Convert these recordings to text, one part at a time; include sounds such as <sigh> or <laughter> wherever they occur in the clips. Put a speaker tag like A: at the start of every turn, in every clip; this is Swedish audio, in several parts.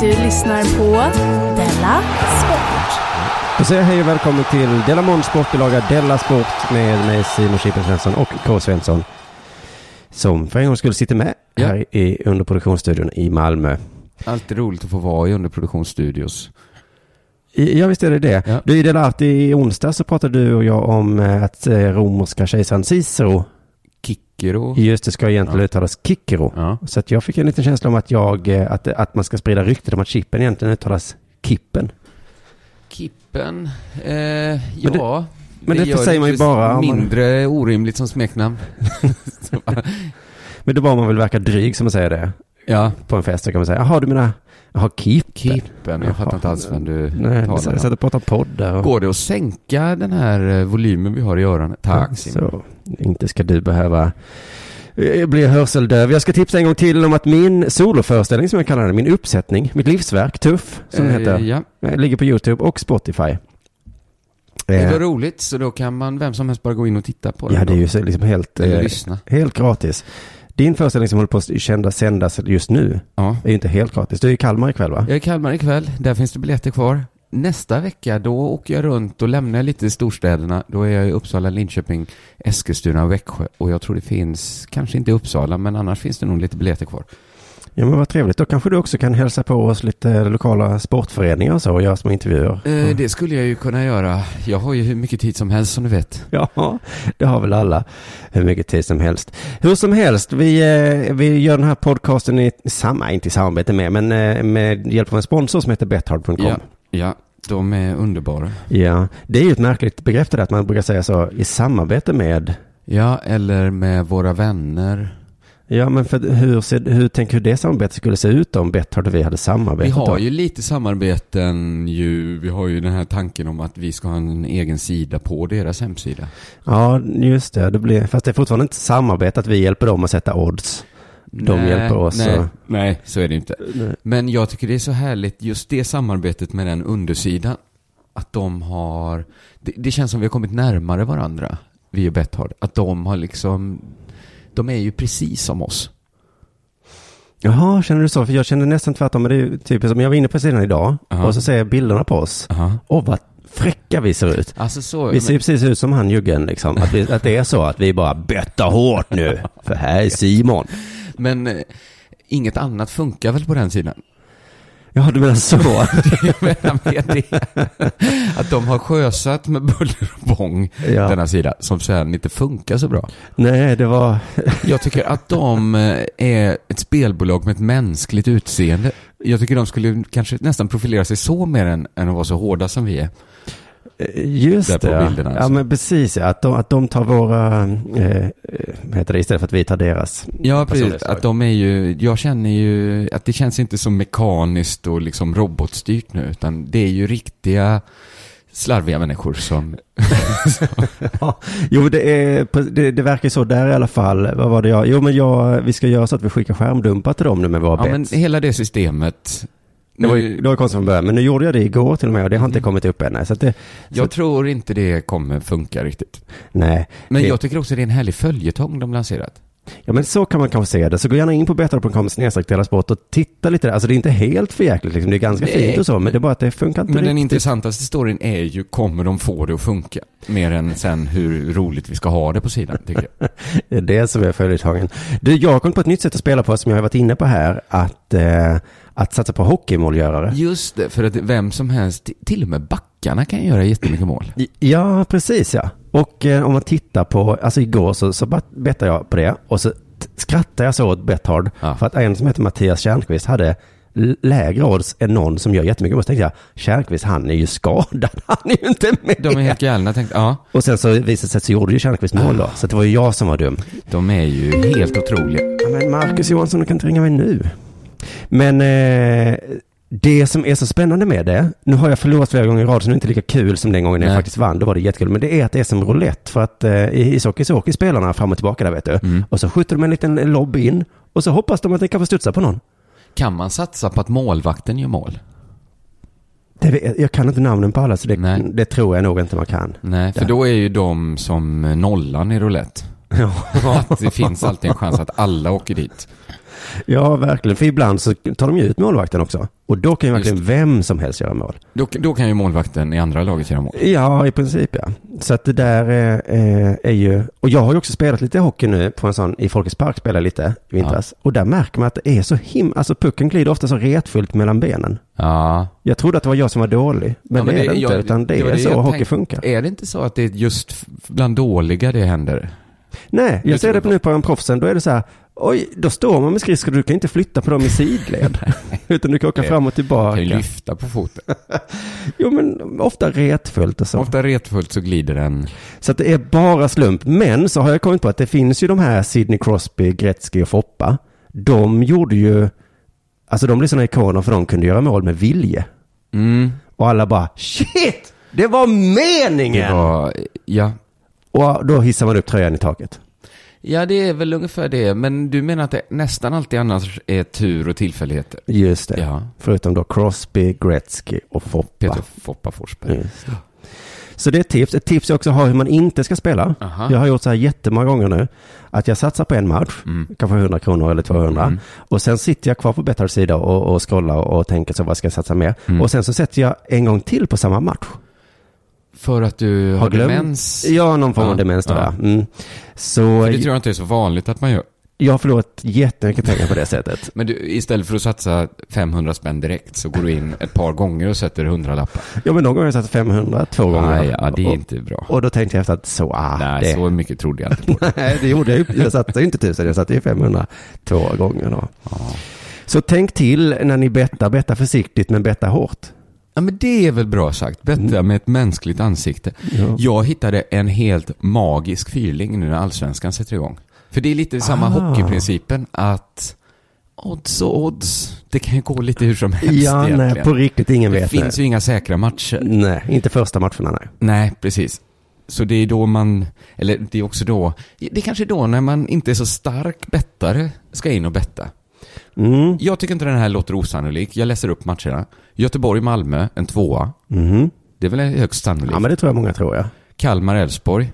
A: Du lyssnar på Della Sport.
B: Då säger jag hej och välkommen till Della Måns sportbilaga Della Sport med mig Simon Chippen Svensson och K. Svensson. Som för en gång skulle sitta med
C: Ja.
B: här i underproduktionsstudion i Malmö.
C: Alltid roligt att få vara i underproduktionsstudios.
B: I- Ja, visst är det det.
C: Ja.
B: Du, i Della Art i onsdag så pratade du och jag om eh, att eh, romerska kejsaren Cicero,
C: Kickero.
B: just det ska egentligen
C: Ja.
B: uttalas Kikero.
C: Ja.
B: Så att jag fick en liten känsla om att, jag, eh, att, att man ska sprida ryktet om att chippen egentligen uttalas Kippen.
C: Kippen. Eh, ja.
B: Men det- men det
C: gör
B: säger man ju
C: inte
B: bara om man-
C: Mindre orimligt som smeknamn. Så bara-
B: Men då var man väl verka dryg som man säger det.
C: ja.
B: På en fest så kan man säga, jaha du menar, jaha Kippen.
C: Kippen. Jag fattar inte alls vem du
B: Nej, jag
C: talar
B: satt
C: om.
B: och pratade podd där. Och...
C: Går det att sänka den här eh, volymen vi har i öronen? Tack Simon.
B: Så, inte ska du behöva eh, bli hörseldöv. Jag ska tipsa en gång till om att min soloföreställning som jag kallar den, min uppsättning, mitt livsverk, Tuff, som den
C: Eh,
B: heter,
C: Ja.
B: eh, ligger på YouTube och Spotify.
C: Det
B: Eh,
C: var roligt, så då kan man vem som helst bara gå in och titta på den.
B: ja, det är
C: då.
B: ju så liksom helt,
C: Eller
B: eh,
C: lyssna.
B: helt gratis. Din föreställning som håller på att kända sändas just nu
C: Ja.
B: är ju inte helt gratis. Du är i Kalmar ikväll va?
C: Jag är i Kalmar ikväll, där finns det biljetter kvar. Nästa vecka, då åker jag runt och lämnar lite i storstäderna. Då är jag i Uppsala, Linköping, Eskilstuna och Växjö. Och jag tror det finns, kanske inte i Uppsala, men annars finns det nog lite biljetter kvar.
B: Ja, men vad trevligt. Då kanske du också kan hälsa på oss lite lokala sportföreningar och så och göra små intervjuer.
C: Eh, det skulle jag ju kunna göra. Jag har ju hur mycket tid som helst som du vet.
B: <laughs> Ja, det har väl alla hur mycket tid som helst. Hur som helst, vi, eh, vi gör den här podcasten i samma, inte i samarbete med, men eh, med hjälp av en sponsor som heter Bethard.com.
C: Ja, ja, de är underbara.
B: Ja, det är ju ett märkligt begrepp det där, att man brukar säga så i samarbete med.
C: Ja, eller med våra vänner.
B: Ja, men för hur, ser, hur tänker du det samarbetet skulle se ut om Bethard och vi hade samarbetat?
C: Vi har
B: då?
C: ju lite samarbeten ju. Vi har ju den här tanken om att vi ska ha en egen sida på deras hemsida.
B: Ja, just det. det blir, fast det är fortfarande inte samarbete att vi hjälper dem att sätta odds. De hjälper oss
C: Nej,
B: att-
C: nej, så är det inte.
B: Nej.
C: Men jag tycker det är så härligt, just det samarbetet med den undersidan. Att de har, det, det känns som vi har kommit närmare varandra, vi och Betthard. Att de har liksom, de är ju precis som oss.
B: Jaha, känner du så? För jag känner nästan tvärtom. Men det är ju typiskt, men jag var inne på sidan idag
C: Ja.
B: och så ser jag bilderna på oss. Åh, vad fräcka vi ser ut.
C: Alltså så,
B: Vi ser ju precis ut som han juggen, liksom. Att, vi, att det är så att vi bara bettar hårt <laughs> nu. För här är Simon.
C: men, men eh, inget annat funkar väl på den sidan? <laughs>
B: Ja, du menar så?
C: Jag menar med det. Att de har sjösatt med buller och bång,
B: <laughs> Ja.
C: denna sida, som sen inte funkar så bra.
B: Nej, det var...
C: Jag tycker att de eh, är ett spelbolag med ett mänskligt utseende. Jag tycker de skulle kanske nästan profilera sig så mer än, än att vara så hårda som vi är. Där
B: Eh, Just
C: på
B: det. ja.
C: bilderna,
B: Ja,
C: alltså.
B: men precis. ja. Att de, att de tar våra... Eh, eh, vad heter det? Istället för att vi tar deras.
C: Ja, precis.
B: personlighetsdrag.
C: Alltså, Att de är ju, jag känner ju att det känns inte så mekaniskt och liksom robotstyrt nu, utan det är ju riktiga slarviga människor som...
B: Ja, jo, det, är, det, det verkar ju så där i alla fall. Vad var det jag... Jo, men jag, vi ska göra så att vi skickar skärmdumpar till dem nu med våra
C: Ja, men
B: bets.
C: hela det systemet.
B: Det var, ju,
C: Nu- Mm.
B: det var ju konstigt från början, men nu gjorde jag det igår till och med och det har inte kommit upp än. Så att det,
C: jag tror inte det kommer funka riktigt.
B: nej.
C: Men
B: det,
C: jag tycker också det är en härlig följetong de lanserat.
B: ja, men så kan man kanske se det. Så gå gärna in på betthard.com snedstreck Della sport och titta lite där. Alltså det är inte helt förjäkligt liksom. Det är ganska
C: Nej.
B: fint och så, men det är bara att det funkar inte
C: Men den
B: riktigt.
C: intressantaste storyn är ju, kommer de få det att funka? Mer än sen hur roligt vi ska ha det på sidan, tycker jag.
B: Det är det som är följetongen. Du, jag har kommit på ett nytt sätt att spela på som jag har varit inne på här. Att, eh, att satsa på hockeymålgörare.
C: <laughs> Just det, för att vem som helst, t- till och med backarna kan göra jättemycket mål.
B: Ja, precis ja. Och eh, om man tittar på, alltså igår så, så bat- bettade jag på det och så t- skrattade jag så åt Betthard
C: Ja.
B: för att en som heter Mattias Tjärnqvist hade l- lägre odds än någon som gör jättemycket mål. Så tänkte jag, Tjärnqvist han är ju skadad, <laughs> han är ju inte med.
C: De är helt galna, tänkte ja.
B: Och sen så visade det sig att så gjorde ju Tjärnqvist mål då, så det var ju jag som var dum.
C: De är ju helt otroliga.
B: Ja, Men Marcus Johansson, du kan inte ringa mig nu. Men eh, Det som är så spännande med det, nu har jag förlorat flera gånger i rad så nu är det inte lika kul som den gången jag
C: Nej.
B: faktiskt vann, då var det jättekul, men det är att det är som roulette för att eh, i ishockey så åker spelarna fram och tillbaka där vet du. Och så skjuter de en liten lobb in och så hoppas de att den kanske studsar på någon.
C: Kan man satsa på att målvakten gör mål?
B: Det, vet- jag kan inte namnen på alla så det,
C: Nej.
B: det tror jag nog inte man kan.
C: Nej, för
B: Där.
C: då är ju de som nollan i roulette. <laughs> Att det finns alltid en chans att alla åker dit.
B: Ja, verkligen. För ibland så tar de ju ut målvakten också. Och då kan ju verkligen vem som helst göra mål.
C: Då, då kan ju målvakten i andra laget göra mål.
B: Ja, i princip ja. Så att det där eh, eh, är ju... Och jag har ju också spelat lite hockey nu på en sån, i Folkets Park spelade jag lite i vintras. Och där märker man att det är så him... Alltså pucken glider ofta så retfullt mellan benen.
C: Ja.
B: Jag trodde att det var jag som var dålig, men, det
C: ja,
B: är det inte.
C: jag-
B: utan det,
C: var
B: är så
C: jag
B: hockey
C: tänkte.
B: funkar.
C: Är det inte så att det är just f- bland dåliga det händer?
B: Nej,
C: Det
B: jag ser
C: tror
B: det nu på en proffsen, då är det så här, oj, då står man med skridskor, du kan inte flytta på dem i sidled.
C: <laughs>
B: utan du kan åka
C: Det-
B: fram och
C: Kan ju
B: tillbaka.
C: lyfta på foten.
B: Jo, men ofta retfullt och så.
C: Ofta retfullt så glider den.
B: Så att det är bara slump. Men så har jag kommit på att det finns ju de här Sidney Crosby, Gretzky och Foppa. De gjorde ju, alltså de blev sådana ikoner för de kunde göra mål med vilje.
C: Mm.
B: Och alla bara shit, det var meningen!
C: Det var, ja.
B: Och då hissar man upp tröjan i taket.
C: Ja, det är väl ungefär det. Men du menar att det nästan alltid annars är tur och tillfälligheter?
B: Just det.
C: Ja.
B: Förutom då Crosby, Gretzky och Foppa.
C: Peter Foppa Forsberg.
B: Just det. Så det är ett tips. Ett tips jag också har hur man inte ska spela.
C: Aha.
B: Jag har gjort så här jättemånga gånger nu. Att jag satsar på en match,
C: Mm.
B: kanske 100 kronor eller 200. Och sen sitter jag kvar på Betthard sida och, och scrollar och, och tänker så vad ska jag satsa mer?
C: Mm.
B: Och sen så sätter jag en gång till på samma match.
C: För att du har,
B: glömt-
C: demens?
B: Ja, någon form av
C: Ja,
B: demens då,
C: ja.
B: ja. Mm. Så
C: För det tror jag inte är så vanligt att man gör.
B: jag har förlorat jättemycket pengar på det sättet.
C: Men du, istället för att satsa 500 spänn direkt så går du in ett par gånger och sätter 100 lappar.
B: Ja, men någon gång har jag satt 500, två gånger.
C: Nej, ja, det är
B: Och-
C: inte bra.
B: Och då tänkte jag efter att så, ah,
C: Nej,
B: det,
C: så mycket trodde jag <laughs> inte på.
B: Nej, det gjorde jag ju. Jag satte ju inte tusen, jag satte ju 500 två gånger då. Så tänk till när ni bettar, betta försiktigt men betta hårt.
C: Ja, men det är väl bra sagt. Bättre med ett mänskligt ansikte.
B: Ja.
C: Jag hittade en helt magisk fyrling nu när allsvenskan sätter igång. För det är lite samma
B: Ah.
C: hockeyprincipen att odds och odds, det kan ju gå lite hur som helst
B: ja,
C: egentligen.
B: nej, på riktigt, ingen
C: det
B: vet. Mm.
C: finns
B: nej.
C: ju inga säkra matcher.
B: nej, inte första matcherna, nej.
C: Nej, precis. Så det är då man, eller det är också då, det är kanske då när man inte är så stark bettare ska in och betta.
B: Mm,
C: Jag tycker inte den här låter osannolik. Jag läser upp matcherna. Göteborg-Malmö, en tvåa.
B: mhm.
C: Det är väl högst sannolikt.
B: Ja, men det tror jag många tror, ja.
C: Kalmar-Elfsborg.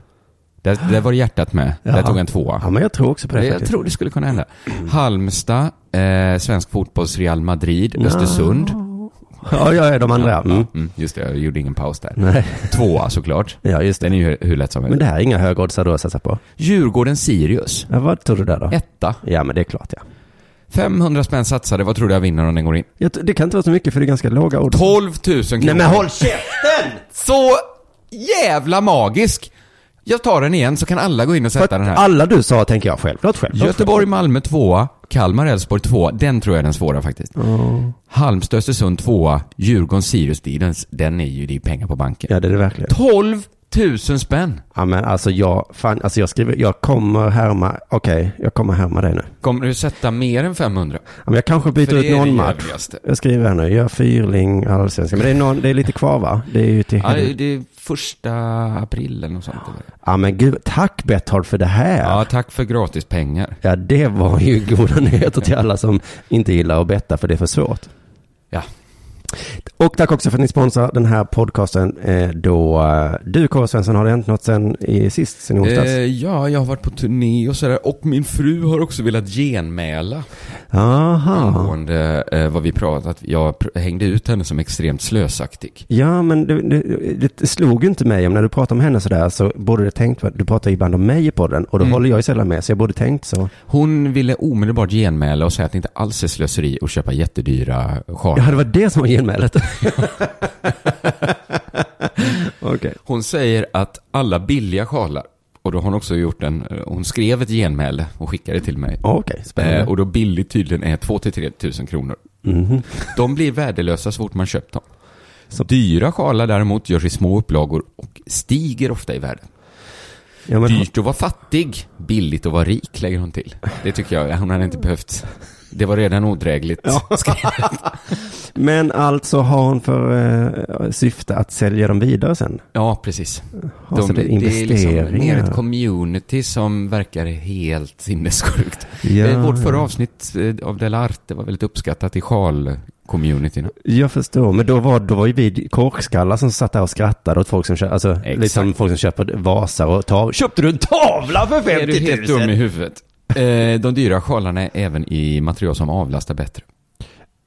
C: Där, där var det hjärtat med. Där
B: Ja.
C: tog
B: Ja,
C: en tvåa.
B: men jag tror också på det.
C: jag
B: faktiskt.
C: tror det skulle kunna hända. Halmstad, eh, svensk fotbolls Real Madrid,
B: Ah.
C: Östersund.
B: Ja, ja, ja, de andra. ja. Mm.
C: Mm, just det, jag gjorde ingen paus där.
B: Nej,
C: Tvåa såklart.
B: ja, just det.
C: Den är ju hur- hur lätt som
B: Men
C: helst.
B: det här är inga högoddsare då att satsa på.
C: Djurgården-Sirius.
B: Ja, vad tror du där då?
C: Etta.
B: Ja, men det är klart, ja.
C: 500 spänn satsade. Vad tror du jag vinner om den går in?
B: Jag, tror- det kan inte vara så mycket för det är ganska låga odds.
C: 12 000 kronor.
B: Nej, men håll käften!
C: Så jävla magisk! Jag tar den igen så kan alla gå in och
B: För
C: sätta den
B: att
C: här.
B: alla du sa tänker jag självklart, självklart.
C: Göteborg, Malmö tvåa, Kalmar, Elfsborg tvåa. Den tror jag är den svåra faktiskt. Halmstad, Östersund tvåa, Djurgården, Sirius, den, den är ju det är pengar på banken.
B: Ja, det är det verkligen.
C: 12 000 spänn!
B: Ja men alltså jag, fan, alltså jag skriver, jag kommer härma, okej, jag kommer härma dig nu.
C: Kommer du sätta mer än 500?
B: Ja, men jag kanske byter
C: För det
B: ut
C: är det
B: någon match.
C: jävligaste.
B: Jag skriver här nu, gör fyrling, allsvenskan. Men det är, någon, det är lite kvar va? Det är ju till
C: Ja, det
B: helvete.
C: det är första april eller något sånt. eller?
B: Ja men gud, tack Betthard för det här.
C: Ja,
B: Ja.
C: tack för gratis pengar.
B: det var ju goda nyheter till alla som inte gillar att betta för det är för svårt.
C: Ja.
B: Och tack också för att ni sponsrar den här podcasten eh, då eh, du K. Svensson, har det hänt något sen i sist, sen i onsdags?
C: Eh, ja, jag har varit på turné och sådär. Och min fru har också velat genmäla
B: Aha.
C: angående eh, vad vi pratat. Jag pr- hängde ut henne som extremt slösaktig.
B: Ja, men det, det, det slog ju inte mig om när du pratade om henne sådär så borde du tänkt på att du pratar ibland om mig i podden och då håller jag ju sällan med så jag borde tänkt så.
C: Hon ville omedelbart genmäla och säga att det inte alls är slöseri att köpa jättedyra
B: Ja,
C: sjalar.
B: det var det som var genmälet. <laughs> Okej.
C: Hon säger att alla billiga sjalar, och då har hon också gjort en, eh, hon skrev ett genmäle och skickade till mig.
B: Okej, spännande.
C: Eh, och då billigt tydligen är 2-3 tusen kronor.
B: Mhm.
C: De blir värdelösa så fort man köpt dem.
B: Så-
C: Dyra sjalar däremot görs i små upplagor och stiger ofta i värde.
B: ja, men, <laughs>
C: Dyrt att vara fattig, billigt att vara rik, lägger hon till. Det tycker jag, hon hade inte behövt. Det var redan odrägligt.
B: Men alltså har hon för eh, syfte att sälja dem vidare sen?
C: Ja, precis.
B: Alltså det är
C: Det är liksom mer
B: investeringar.
C: ett community som verkar helt sinnessjukt.
B: Ja,
C: Eh, Vårt förra
B: ja.
C: avsnitt eh, av Della Arte var väldigt uppskattat i sjal-communityna.
B: Jag förstår, men då var, då var ju vi korkskallar som satt där och skrattade åt folk som köper, alltså
C: Exakt.
B: liksom folk som köper Vasa och tavlor. Köpte du en tavla för
C: Är du
B: 50
C: helt
B: 000?
C: dum i huvudet? Eh, De dyra sjalarna är även i material som avlastar bättre.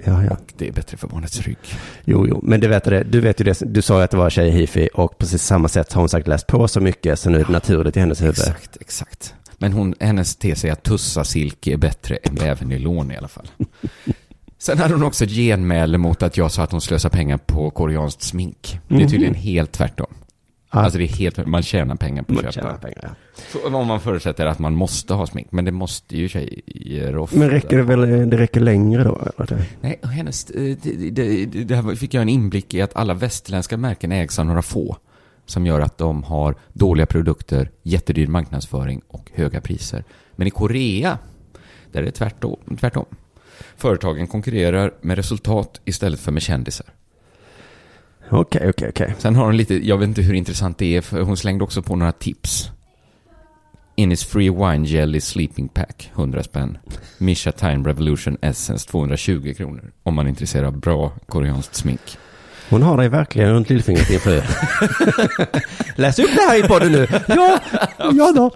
B: Ja, ja.
C: Det är bättre för barnets rygg.
B: Jo, jo, men du vet, det, du vet ju det, du sa ju att det var tjej hifi och precis samma sätt har hon säkert läst på så mycket så nu är det naturligt i hennes huvud.
C: Exakt, exakt. Men hon, hennes tes är att tussa silke är bättre än bävernylon i alla fall. Sen hade hon också ett genmäle mot att jag sa att hon slösar pengar på koreanskt smink.
B: Mhm.
C: Det är tydligen helt tvärtom. Alltså det är helt, man tjänar pengar på
B: Man
C: att köpa.
B: tjänar pengar, ja.
C: Så Om man förutsätter att man måste ha smink, men det måste ju tjejer ofta.
B: Men räcker det väl, det räcker längre då? Eller?
C: Nej, och hennes, eh, det, det, det, det här var- fick jag en inblick i att alla västerländska märken ägs av några få. Som gör att de har dåliga produkter, jättedyr marknadsföring och höga priser. Men i Korea, där är det tvärtom. tvärtom. Företagen konkurrerar med resultat istället för med kändisar.
B: Okej, okej, okej.
C: Sen har hon lite, jag vet inte hur intressant det är, för hon slängde också på några tips. Innis Free Wine Jelly Sleeping Pack, 100 spänn. Misha Time Revolution Essence, 220 kronor. Om man är intresserad av bra koreanskt smink.
B: Hon har dig verkligen runt lillfingret i en
C: <laughs>
B: flöjt. Läs upp det här i podden nu. Ja, ja
C: <laughs>
B: då.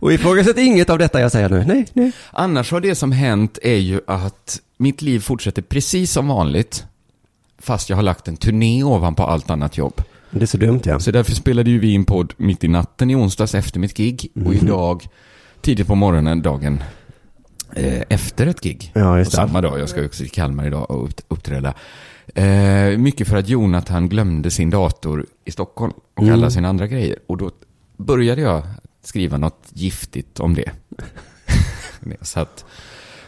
B: Och ifrågasätt inget av detta jag säger nu. Nej, nej.
C: Annars har det som hänt är ju att mitt liv fortsätter precis som vanligt. Fast jag har lagt en turné ovanpå allt annat jobb.
B: Det är så dumt ja.
C: Så därför spelade ju vi in podd mitt i natten i onsdags efter mitt gig. Och idag, tidigt på morgonen, dagen eh, efter ett gig.
B: Ja, just
C: och
B: det.
C: samma dag, jag ska ju också till Kalmar idag och upp- uppträda. Eh, mycket för att Jonathan glömde sin dator i Stockholm och
B: Mm.
C: alla sina andra grejer. Och då började jag skriva något giftigt om det. <laughs> När jag satt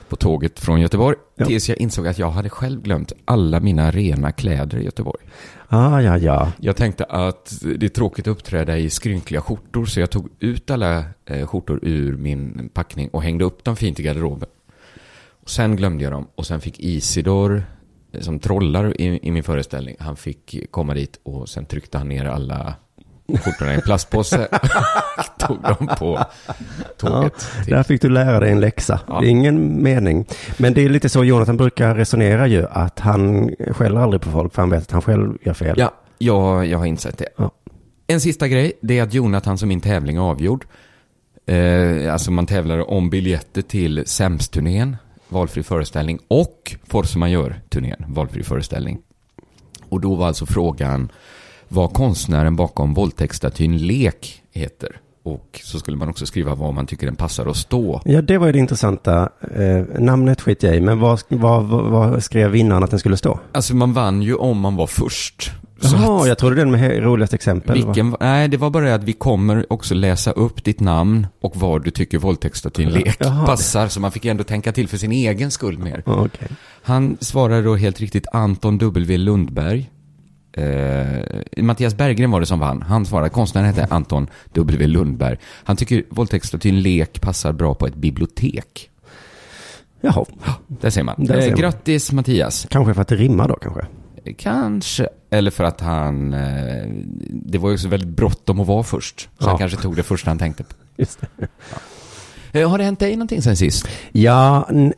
C: på tåget från Göteborg.
B: Ja.
C: Tills jag insåg att jag hade själv glömt alla mina rena kläder i Göteborg.
B: Ah, ja, ja.
C: Jag tänkte att det är tråkigt att uppträda i skrynkliga skjortor så jag tog ut alla eh, skjortor ur min packning och hängde upp dem fint i garderoben. Och sen glömde jag dem och sen fick Isidor eh, som trollar i, i min föreställning, han fick komma dit och sen tryckte han ner alla skjortorna i en plastpåse <laughs> och tog dem på
B: ja.
C: tåget. till-
B: Där fick du lära dig en läxa.
C: Ja.
B: Det är ingen mening. Men det är lite så Jonathan brukar resonera ju, att han skäller aldrig på folk för han vet att han själv gör fel.
C: Ja, jag, jag har insett det.
B: Ja.
C: En sista grej, det är att Jonathan som min tävling är avgjord. Eh, alltså man tävlar om biljetter till SEMS-turnén, valfri föreställning, och Force Majeure-turnén, valfri föreställning. Och då var alltså frågan vad konstnären bakom våldtäktsstatyn Lek heter. Och så skulle man också skriva vad man tycker den passar att stå.
B: Ja, det var ju det intressanta. Eh, namnet skit jag i, men vad, vad, vad, vad skrev vinnaren att den skulle stå?
C: Alltså man vann ju om man var först. Så att-
B: Jaha, jag trodde den med he- roligast exempel. var-
C: Vilken, nej, det var bara det att vi kommer också läsa upp ditt namn och vad du tycker våldtäktsstatyn lek
B: Jaha.
C: passar. Så man fick ju ändå tänka till för sin egen skull mer.
B: Ja, Okej.
C: Han svarade då helt riktigt Anton W. Lundberg. Eh, Mattias Berggren var det som vann. Han svarade, konstnären hette Anton W. Lundberg. Han tycker våldtäktsstatyn lek passar bra på ett bibliotek.
B: Jaha,
C: Där ser man.
B: Där ser
C: eh,
B: man.
C: grattis Mattias.
B: kanske för att det rimmar då kanske.
C: Kanske. Eller för att han, eh, det var ju också väldigt bråttom att vara först. Så
B: Ja.
C: han kanske tog det första han tänkte på.
B: Just det.
C: Eh, Har det hänt dig någonting sen sist?
B: Ja, n-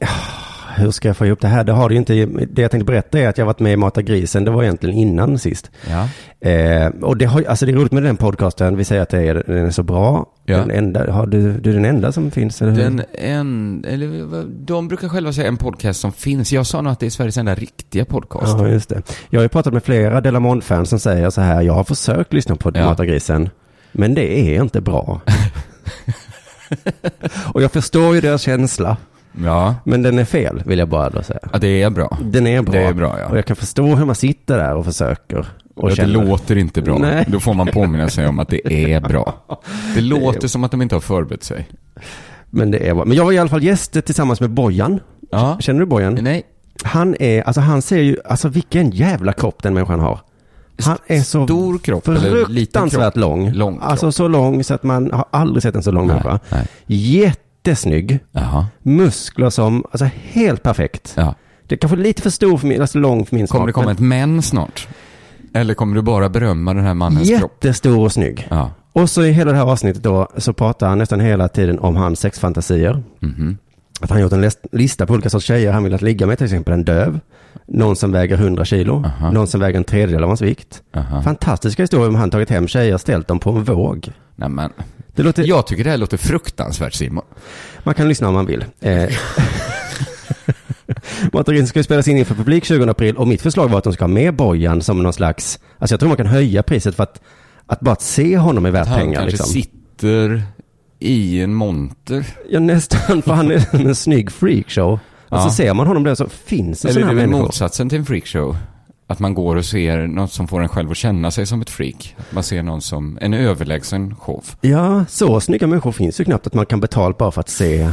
B: hur ska jag få ihop det här? Det har det ju inte. Det jag tänkte berätta är att jag varit med i Mata grisen. Det var egentligen innan sist.
C: Ja.
B: Eh, och det, har, alltså det är roligt med den podcasten. Vi säger att det är, den är så bra.
C: Ja.
B: Den enda, har du, du är den enda som finns, eller hur?
C: Den en, eller vad- de brukar själva säga en podcast som finns. Jag sa nog att det är Sveriges enda riktiga podcast.
B: Ja, just det. Jag har ju pratat med flera Delamond-fans som säger så här, jag har försökt lyssna på
C: Ja.
B: Mata grisen, men det är inte
C: <laughs>
B: bra. och jag förstår ju deras känsla,
C: Ja.
B: men den är fel, vill jag bara då säga.
C: ja, det är bra.
B: Den är bra.
C: Det är bra, ja.
B: Och jag kan förstå hur man sitter där och försöker. Och
C: Ja, det
B: känner.
C: låter inte bra.
B: Nej.
C: Då får man påminna sig om att det
B: <laughs>
C: är bra. Det låter som att de inte har förberett sig.
B: Men det är bra. Men jag var i alla fall gäst tillsammans med Bojan.
C: Ja.
B: Känner du Bojan?
C: Nej.
B: Han är, alltså han ser ju, alltså vilken jävla kropp den människan har. Han är så
C: Stor kropp eller liten
B: fruktansvärt
C: kropp?
B: lång.
C: Lång kropp.
B: Alltså så lång så att man har aldrig sett en så lång
C: Nej,
B: människa.
C: nej.
B: Jättesnygg.
C: Jaha.
B: Muskler som, alltså helt perfekt.
C: Ja.
B: Det är kanske lite för stor för min, alltså lång för min
C: Kommer det
B: smak.
C: komma
B: men
C: ett men snart? Eller kommer du bara berömma den här mannens kropp?
B: Jättestor och snygg.
C: Ja.
B: Och så i hela det här avsnittet då så pratar han nästan hela tiden om hans sexfantasier.
C: Mhm.
B: Att han gjort en list- lista på olika sorts tjejer han vill att ligga med, till exempel en döv, någon som väger 100 kilo,
C: Aha.
B: någon som väger en tredjedel av hans vikt.
C: Aha.
B: Fantastiska historier om han tagit hem tjejer och ställt dem på en våg.
C: Nej, men.
B: Det låter,
C: Jag tycker det här låter fruktansvärt Simon.
B: Man kan lyssna om man vill.
C: <laughs>
B: Eh. Matagrin ska ju spelas in inför publik 20 april och mitt förslag var att de ska ha med Bojan som någon slags, alltså jag tror man kan höja priset för att, att bara att se honom är värt
C: Han
B: pengar.
C: kanske
B: Liksom.
C: sitter i en monter.
B: Ja nästan, för han är som
C: <laughs>
B: en snygg freakshow. Och så
C: Ja.
B: ser man honom där så finns det
C: Eller
B: sådana här
C: är det väl
B: människor.
C: motsatsen till en freakshow? Att man går och ser något som får en själv att känna sig som ett freak. Att man ser någon som en överlägsen show.
B: Ja, så snygga människor finns ju knappt att man kan betala bara för att se.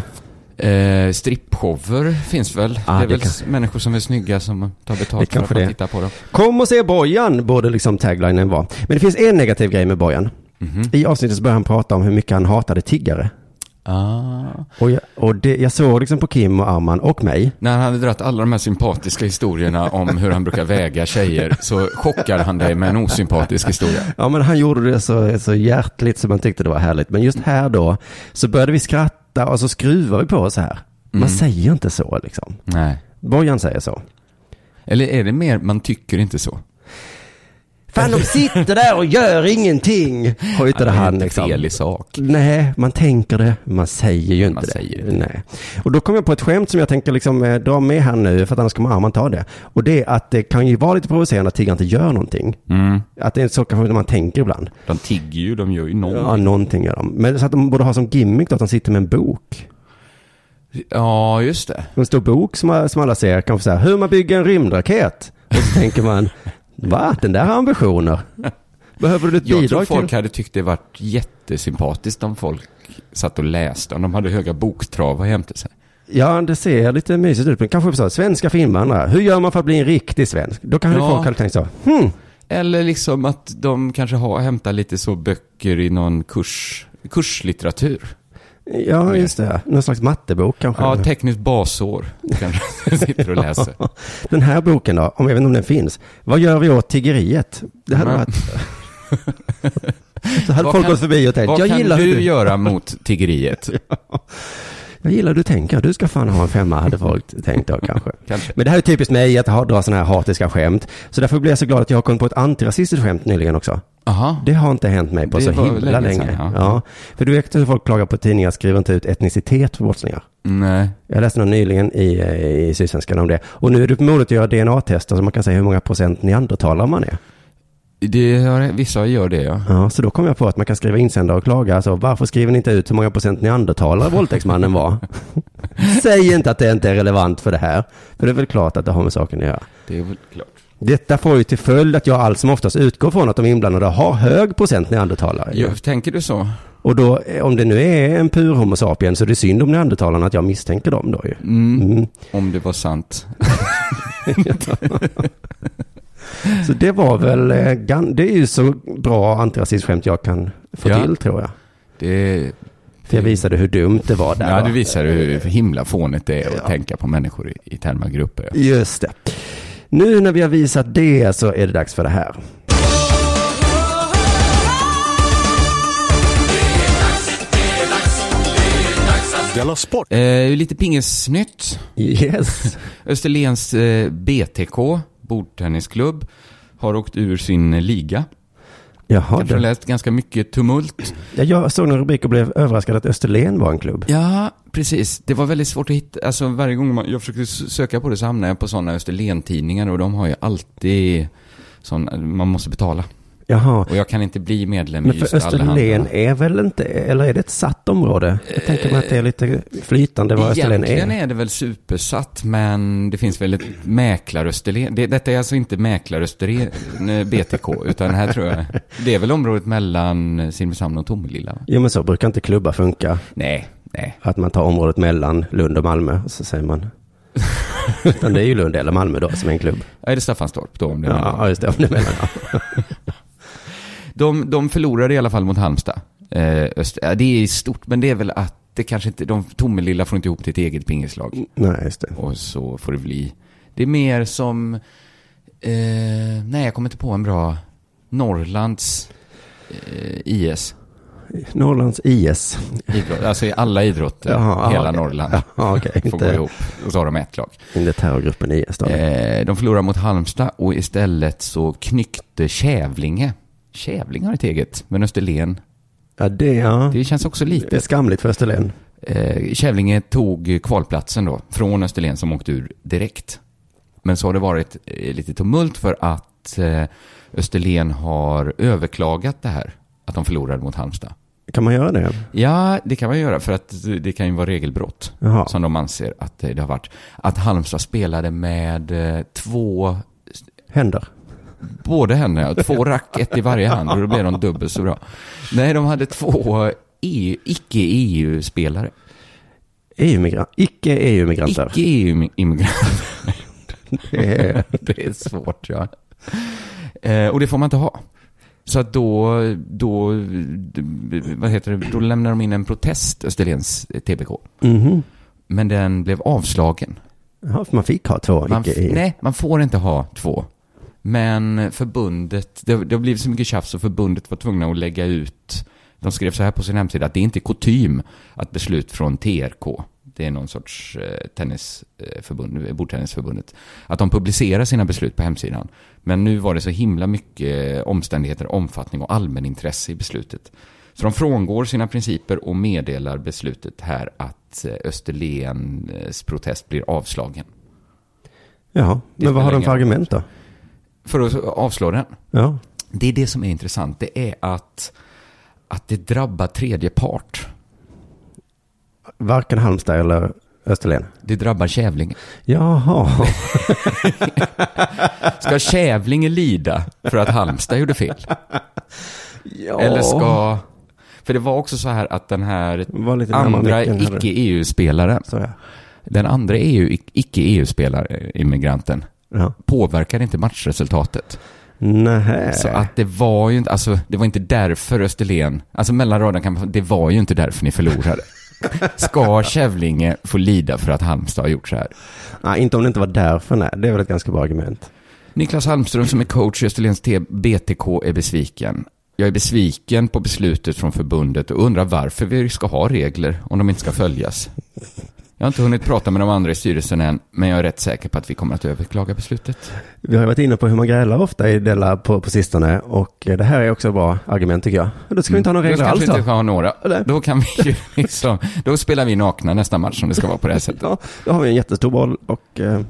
C: Eh, Strippshower finns väl?
B: Ah,
C: det är
B: det
C: väl
B: kan-
C: s- människor som är snygga som tar
B: Det
C: betalt för att
B: kanske
C: få
B: det är.
C: titta på dem.
B: Kom och se Bojan, borde liksom taglinen vara. Men det finns en negativ grej med Bojan.
C: Mhm.
B: I avsnittet så börjar han prata om hur mycket han hatade tiggare.
C: Ah.
B: Och, jag, och det, jag såg liksom på Kim och Arman och mig.
C: När han hade dragit alla de här sympatiska historierna om hur han brukar väga tjejer så chockar han dig med en osympatisk historia.
B: Ja, men han gjorde det så, så hjärtligt som man tyckte det var härligt. Men just här då, så började vi skratta och så skruvar vi på oss här. Man
C: Mm.
B: säger inte så liksom.
C: Nej.
B: Bojan säger så.
C: Eller är det mer, man tycker inte så?
B: Fan, de sitter där och gör ingenting. Hojtade
C: är
B: han
C: inte
B: liksom.
C: fel i sak.
B: Nej, man tänker det, man säger ju inte
C: Man
B: det.
C: säger det.
B: Nej. Och då kom jag på ett skämt som jag tänker liksom, eh, dra med här nu, för att annars kommer Arman ta det. Och det är att det kan ju vara lite provocerande att tiggare inte gör någonting.
C: Mm.
B: Att det är så kanske man tänker ibland.
C: De tigger ju, de gör ju någonting.
B: Ja, någonting gör de. Men så att de borde ha som gimmick då att de sitter med en bok.
C: Ja, just det.
B: En stor bok som, som alla ser, kanske så här, hur man bygger en rymdraket. Och så tänker man, <laughs> va, den där har
C: <laughs>
B: ambitioner. Behöver du ett
C: Jag tror
B: bidrag
C: folk
B: till?
C: hade tyckt det varit jättesympatiskt om folk satt och läste, om de hade höga boktravar jämte sig.
B: Ja, det ser lite mysigt ut. Men kanske så här, svenska för invandrare, hur gör man för att bli en riktig svensk? Då kanske
C: Ja.
B: folk hade tänkt så, hmm,
C: Eller liksom att de kanske har, hämtar lite så böcker i någon kurs, kurslitteratur.
B: ja just det, någon slags mattebok kanske.
C: Ja, tekniskt basår kanske <laughs> sitter och läser.
B: <laughs> den här boken då, om, jag vet inte om den finns, vad gör vi åt tiggeriet? Det hade
C: Men- <laughs>
B: varit... så hade
C: Mm. Vad
B: folk
C: kan-
B: gått förbi och tänkt,
C: Vad
B: jag
C: kan
B: gillar hur
C: du göra mot tiggeriet?
B: Jag gillar hur du tänker. Du ska fan ha en femma, hade
C: <laughs>
B: folk tänkt då kanske.
C: Kanske.
B: Men det här är typiskt mig, att ha- dra sådana här hatiska skämt. Så därför blir jag så glad att jag har kommit på ett antirasistiskt skämt nyligen också.
C: Aha.
B: Det har inte hänt mig på
C: Det
B: så
C: var
B: himla
C: länge sedan,
B: länge.
C: ja.
B: Ja. För du vet hur folk klagar på att tidningar skriver inte ut etnicitet för brottslingar.
C: Nej.
B: Jag läste någon nyligen i, eh, i Sydsvenskan om det. Och nu är det på modet att göra DNA-tester så man kan säga hur många procent neandertalare man är.
C: Det, har- vissa gör det, ja.
B: Ja, så då kom jag på att man kan skriva insändare och klaga. Alltså, varför skriver ni inte ut hur många procent neandertalare våldtäktsmannen
C: <laughs>
B: var? Säg inte att det inte är relevant för det här. För det är väl klart att det har med saken att göra.
C: Det är väl klart.
B: Detta får ju till följd att jag allt som oftast utgår från att de inblandade har hög procent neandertalare.
C: Ja, tänker du så?
B: Och då, eh, om det nu är en pur homo sapien så är det synd om neandertalarna att jag misstänker dem då ju. Mm.
C: Om det var sant.
B: Så det var väl, eh, gan- det är ju så bra antirasistskämt jag kan få
C: Ja.
B: till tror jag.
C: Det,
B: För jag visade hur dumt det var där.
C: ja,
B: va?
C: du visar hur himla fånigt det är att tänka på människor i, i termer av grupper. ja.
B: Just det. Nu när vi har visat det så är det dags för det här.
D: Della Sport!
C: Eh, lite pingisnytt. <laughs>
B: Yes.
C: Österlens eh, BTK, bordtennisklubb, har åkt ur sin eh, liga.
B: Jaha,
C: Kanske har
B: du.
C: läst ganska mycket tumult.
B: Ja, Jag såg en rubrik och blev överraskad att Österlen var en klubb.
C: Ja, precis. Det var väldigt svårt att hitta. Alltså varje gång man, jag försökte s- söka på det så hamnade jag på sådana Österlen-tidningar och de har ju alltid sån, man måste betala.
B: Jaha.
C: Och jag kan inte bli medlem i
B: Men
C: just
B: för
C: alla
B: Österlen är väl inte, eller är det ett satt område? Jag tänker mig att det är lite flytande vad Österlen
C: Egentligen
B: är.
C: är det väl supersatt, men det finns väl ett mäklarösterlen. Det, detta är alltså inte mäklarösterlen eh, BTK, utan här tror jag... Det är väl området mellan Simrishamn och Tomelilla? va?
B: Jo men så brukar inte klubbar funka.
C: Nej, nej.
B: Att man tar området mellan Lund och Malmö, så säger
C: <laughs>
B: man. Utan det är ju Lund eller Malmö då som är en klubb.
C: Ja, Är det Staffanstorp då? Om det är mellan-
B: Ja, just det. Om det menar jag.
C: De, de förlorade i alla fall mot Halmstad. Eh, öst, ja, det är stort, men det är väl att det kanske inte, de, Tomelilla får inte ihop till ett eget pingislag.
B: Nej, just det.
C: Och så får det bli Det är mer som, eh, nej jag kommer inte på en bra, Norrlands eh, IS.
B: Norrlands IS.
C: Idrott, alltså i alla idrotter,
B: Jaha,
C: hela
B: ja, okej.
C: Norrland.
B: Ja, okej.
C: Får gå
B: Inte-
C: ihop. Och så har de ett lag.
B: Inte terrorgruppen IS då.
C: Eh, de förlorar mot Halmstad och istället så knyckte Kävlinge. Kävlinge har ett eget, men Österlen.
B: Ja, det, ja.
C: Det känns också
B: det är
C: lite.
B: skamligt för Österlen.
C: Eh, Kävlinge tog kvalplatsen då, från Österlen som åkte ur direkt. Men så har det varit eh, lite tumult för att eh, Österlen har överklagat det här, att de förlorade mot Halmstad.
B: Kan man göra det?
C: Ja, det kan man göra för att det kan ju vara regelbrott
B: Jaha.
C: som de anser att eh, det har varit. Att Halmstad spelade med eh, två,
B: Händer.
C: både händerna, två rack, ett i varje hand och då blev de dubbelt så bra. Nej, de hade två E, EU, icke-EU-spelare.
B: EU-migrant. E Icke-EU-migranter.
C: Icke-EU-immigranter.
B: Det är-
C: <laughs> det är svårt, ja. Eh, och det får man inte ha. Så att då, då, vad heter det, då lämnar de in en protest, Österlens eh, TBK.
B: <laughs> Mhm.
C: Men den blev avslagen.
B: Ja, för man fick ha två E
C: Man, f-
B: icke-EU.
C: nej, man får inte ha två. Men förbundet, det, det har blivit så mycket tjafs så förbundet var tvungna att lägga ut, de skrev så här på sin hemsida, att det är inte kutym att beslut från TRK, det är någon sorts eh, tennisförbund, eh, bordtennisförbundet, att de publicerar sina beslut på hemsidan. Men nu var det så himla mycket omständigheter, omfattning och allmänintresse i beslutet. Så de frångår sina principer och meddelar beslutet här att eh, Österlens protest blir avslagen.
B: Ja,
C: spelar
B: men vad har de för
C: ingen roll.
B: argument då?
C: för att avslå den.
B: Ja.
C: Det är det som är intressant. Det är att, att det drabbar tredje part.
B: Varken Halmstad eller Österlen.
C: Det drabbar Kävlinge.
B: Jaha,
C: Ska Kävlinge lida för att Halmstad gjorde fel? Eller ska... För det var också så här att den här
B: Var lite närmare
C: andra
B: micken, hörru.
C: icke-EU-spelaren,
B: Så ja.
C: den andra E EU, icke-EU-spelaren,
B: ja.
C: påverkade inte matchresultatet.
B: Nähä.
C: Så att det var ju inte, alltså det var inte därför Österlen, alltså mellan raderna kan man, det var ju inte därför
B: <laughs>
C: ni förlorade. Ska Kävlinge få lida för att Halmstad har gjort så här?
B: Nej, inte om det inte var därför. Nej, det är väl ett ganska bra argument.
C: Niklas Halmström som är coach i Österlens T- BTK är besviken. Jag är besviken på beslutet från förbundet och undrar varför vi ska ha regler om de inte ska följas. Jag har inte hunnit prata med de andra i styrelsen än, men jag är rätt säker på att vi kommer att överklaga beslutet.
B: Vi har ju varit inne på hur man grälar ofta i Della på, på sistone och eh, det här är också ett bra argument tycker jag. Då Mm. ska vi inte ha några regler
C: Då
B: alls
C: kanske vi inte
B: då.
C: ska ha några.
B: Eller?
C: Då kan vi ju liksom, då spelar vi nakna nästa match om det ska vara på det här sättet.
B: Ja, då har vi en jättestor boll och eh,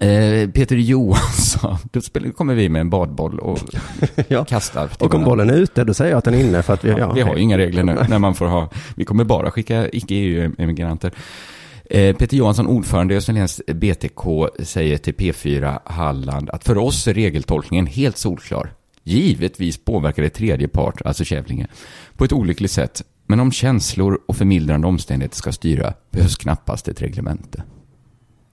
C: Eh, Peter Johansson, <laughs> då spelar, kommer vi med en badboll och
B: <laughs> ja.
C: kastar. till
B: Och om
C: varandra.
B: bollen är ute, då säger jag att den är inne för att vi, ja,
C: Vi har ju inga regler nu när man får ha, vi kommer bara skicka icke-EU-emigranter. Eh, Peter Johansson, ordförande i Österlens BTK, säger till P4 Halland att för oss är regeltolkningen helt solklar. Givetvis påverkar det tredje part, alltså Kävlinge, på ett olyckligt sätt. Men om känslor och förmildrande omständigheter ska styra behövs knappast ett reglemente.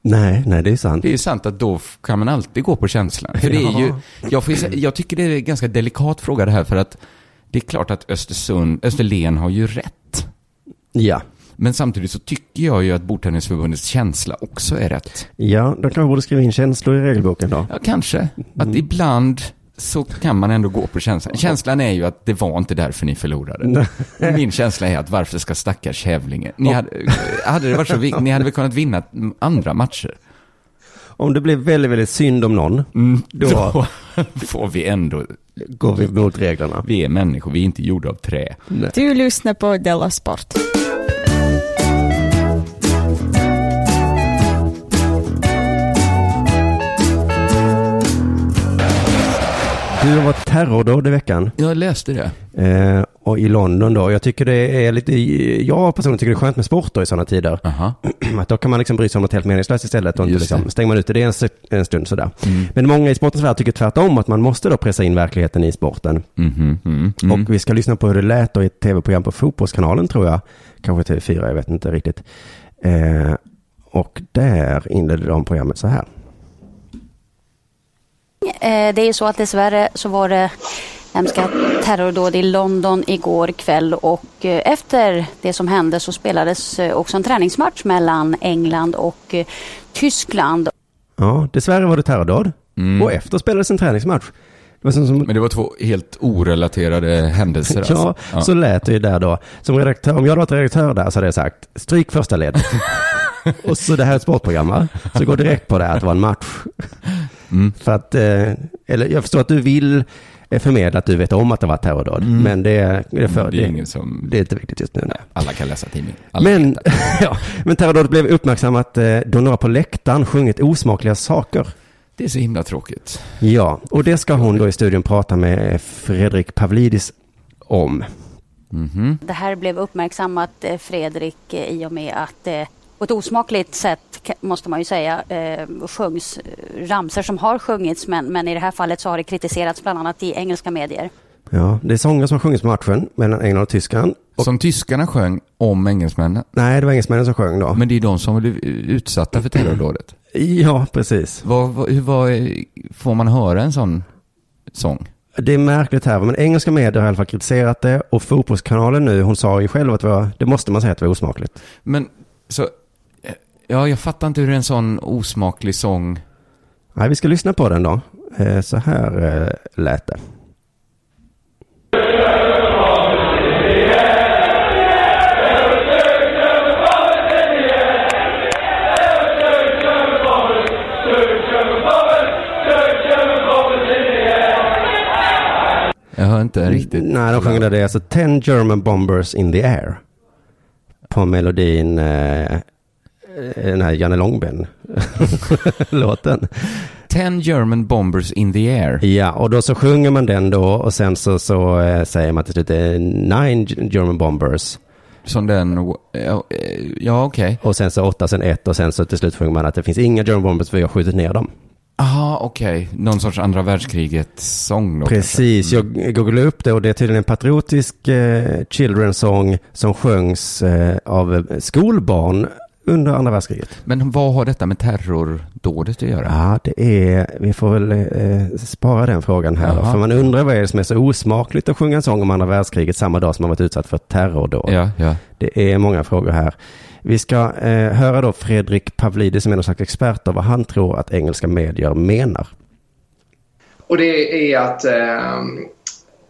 B: Nej, nej, det är sant.
C: Det är ju sant att då f- kan man alltid gå på känslan. För det är ju, jag, får ju, sä- jag tycker det är en ganska delikat fråga det här för att det är klart att Östersund, Österlen har ju rätt.
B: Ja.
C: Men samtidigt så tycker jag ju att Bordtennisförbundets känsla också är rätt.
B: Ja, då kanske vi borde skriva in känslor i regelboken då.
C: Ja, kanske. Mm. Att ibland så kan man ändå gå på känslan. Känslan är ju att det var inte därför ni förlorade. Min känsla är att varför ska stackars Kävlinge? Ni hade, hade det varit så, vi- ni hade väl kunnat vinna andra matcher?
B: Om det blir väldigt, väldigt synd om någon, då
C: Mm, Då får vi ändå
B: går vi mot reglerna.
C: Vi är människor, vi är inte gjorda av trä.
E: Du lyssnar på Della Sport.
B: Du har varit terrordåd i veckan
C: Jag läste det.
B: eh, och i London då. Jag tycker det är lite, jag personligen tycker det är skönt med sport då i sådana tider.
C: Aha.
B: <clears throat> Att då kan man liksom bry sig om något helt meningslöst istället och inte
C: Just det. Mm.
B: liksom, stänger man ute det en, se- en stund sådär. Men många i sportens värld tycker tvärtom att man måste då pressa in verkligheten i sporten.
C: Mhm, mm, mm.
B: Och vi ska lyssna på hur det lät då i ett tv-program på Fotbollskanalen tror jag. Kanske TV4, jag vet inte riktigt. Eh, och där inledde de programmet så här.
F: Eh, Det är ju så att dessvärre så var det hemska terrordåd i London igår kväll och eh, efter det som hände så spelades eh, också en träningsmatch mellan England och eh, Tyskland.
B: Ja, dessvärre var det terrordåd.
C: Mm.
B: Och efter spelades en träningsmatch. Det var som, som
C: Men det var två helt orelaterade händelser
B: Ja,
C: alltså.
B: så lät det ju där då. Som redaktör, om jag hade varit redaktör där så hade jag sagt, stryk första
C: <laughs>
B: ledet. och så det här är ett sportprogram, va? Så gå direkt på det här att det var en match.
C: Mm.
B: För att, eh, eller jag förstår att du vill eh, förmedla att du vet om att det var ett terrordåd, men det, är- det, är för,
C: Mm. det är
B: det,
C: ingen som...
B: det är inte viktigt just nu. Nej.
C: Alla kan läsa tidning. Alla
B: Men, <laughs> ja, men terrordådet blev uppmärksammat eh, då några på läktaren sjungit osmakliga saker.
C: Det är så himla tråkigt.
B: Ja, och det ska hon då i studion prata med Fredrik Pavlidis om.
F: Det här blev uppmärksammat eh, Fredrik eh, i och med att eh, på ett osmakligt sätt ka- måste man ju säga eh, sjungs eh, ramsor som har sjungits men, men i det här fallet så har det kritiserats bland annat i engelska medier.
B: Ja, det är sånger som sjungs på matchen mellan England och Tyskland. Och,
C: Som tyskarna sjöng om engelsmännen.
B: nej, det var engelsmännen som sjöng då.
C: Men det är de som blev utsatta för terrordådet.
B: ja, precis.
C: Vad, vad, hur- vad, är- får man höra en sån sång?
B: Det är märkligt här, men engelska medier har i alla fall kritiserat det och fotbollskanalen nu, hon sa ju själv att det, var, det måste man säga att det var osmakligt.
C: Men så... eh, Ja, jag fattar inte hur en sån osmaklig sång...
B: Nej, vi ska lyssna på den då. Eh, Så här eh, lät det.
C: Jag hör
B: Mm.
C: inte riktigt.
B: Nej, de sjöng där det är alltså 10 German bombers in the air. På melodin, eh, eh, den här Janne <laughs> Långben-låten.
C: Ten German bombers in the air.
B: Ja, och då så sjunger man den då och sen så, så eh, säger man till slut eh, nine German bombers
C: Som den... Ja, eh, ja okej.
B: och sen så åtta, sen ett och sen så till slut sjunger man att det finns inga German bombers för jag har skjutit ner dem.
C: Aha, okej. Någon sorts andra världskriget-sång då.
B: Precis, jag googlade upp det och det är tydligen en patriotisk eh, children's song som sjöngs eh, av skolbarn under andra världskriget.
C: Men vad har detta med terrordådet att göra?
B: Ja, det är, vi får väl eh, spara den frågan här då.
C: Jaha.
B: För man undrar vad är det som är så osmakligt att sjunga en sång om andra världskriget samma dag som man varit utsatt för ett terrordåd.
C: Ja, ja.
B: Det är många frågor här. Vi ska eh, höra då Fredrik Pavlidis som är någon slags expert av vad han tror att engelska medier menar.
G: Och det är att, eh,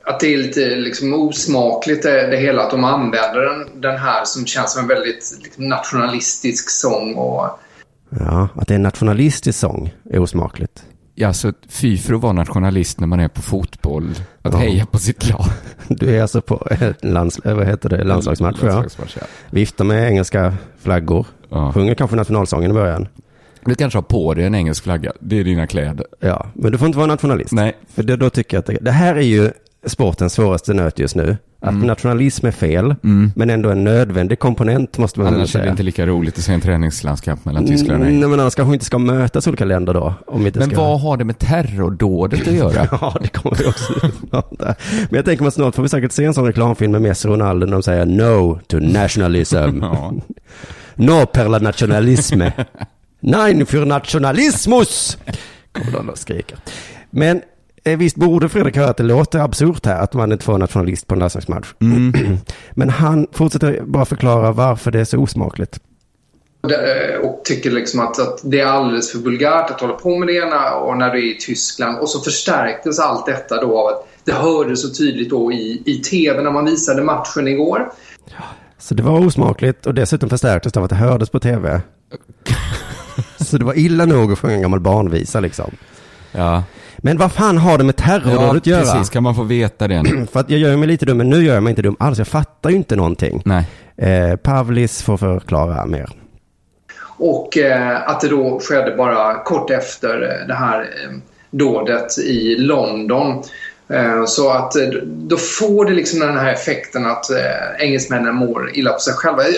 G: att det är lite liksom, osmakligt det, det hela att de använder den, den här som känns som en väldigt liksom, nationalistisk sång. Och,
B: Ja, att det är en nationalistisk sång är osmakligt. <laughs>
C: Ja, så fy för att vara nationalist när man är på fotboll. Att
B: Ja.
C: heja på sitt lag.
B: Du är alltså på en lands, eh, vad heter det, landslagsmatch. Ja.
C: Landslagsmatch, ja.
B: Viftar med engelska flaggor.
C: Ja.
B: Sjunger kanske nationalsången i början.
C: Du kanske har på dig en engelsk flagga. Det är dina kläder.
B: Ja, men du får inte vara nationalist.
C: Nej.
B: För det, då tycker jag att det, det här är ju sportens svåraste nöt just nu. Att
C: Mm.
B: nationalism är fel, men ändå en nödvändig komponent måste man väl
C: Annars är det
B: säga.
C: inte lika roligt att se en träningslandskamp mellan Tyskland och England.
B: Nej, men annars kanske vi inte ska mötas olika länder då. Om vi inte
C: Men
B: Mm, ska...
C: vad har det med terrordådet att göra?
B: <laughs> Ja, det kommer vi också prata. Men jag tänker mig att snart får vi säkert se en sån reklamfilm med Messi och Ronaldo när de säger no to nationalism.
C: <laughs> Ja.
B: No per la nationalisme. Nein für nationalismus! Kommer de och skriker. Men eh, visst borde Fredrik höra att det låter absurt här att man inte får en nationalist på en landslagsmatch.
C: Mm.
B: <clears throat> Men han fortsätter bara förklara varför det är så osmakligt.
G: och det- och tycker liksom att, att det är alldeles för vulgärt att hålla på med det ena och när du är i Tyskland. Och så förstärktes allt detta då av att det hördes så tydligt då i, i tv när man visade matchen igår.
B: Så det var osmakligt och dessutom förstärktes det av att det hördes på
C: <laughs>
B: tv. Så det var illa nog att sjunga en gammal barnvisa liksom.
C: Ja,
B: Men vad fan har det med
C: ja
B: terrordådet att göra?
C: precis. Kan man få veta
B: <clears throat>
C: det nu?
B: För att jag gör mig lite dum, men nu gör jag mig inte dum alls. Jag fattar ju inte någonting.
C: Nej.
B: Eh, Pavlis får förklara mer.
G: Och eh, att det då skedde bara kort efter eh, det här eh, dådet i London. Eh, så att eh, då får det liksom den här effekten att eh, engelsmännen mår illa på sig själva. Eh,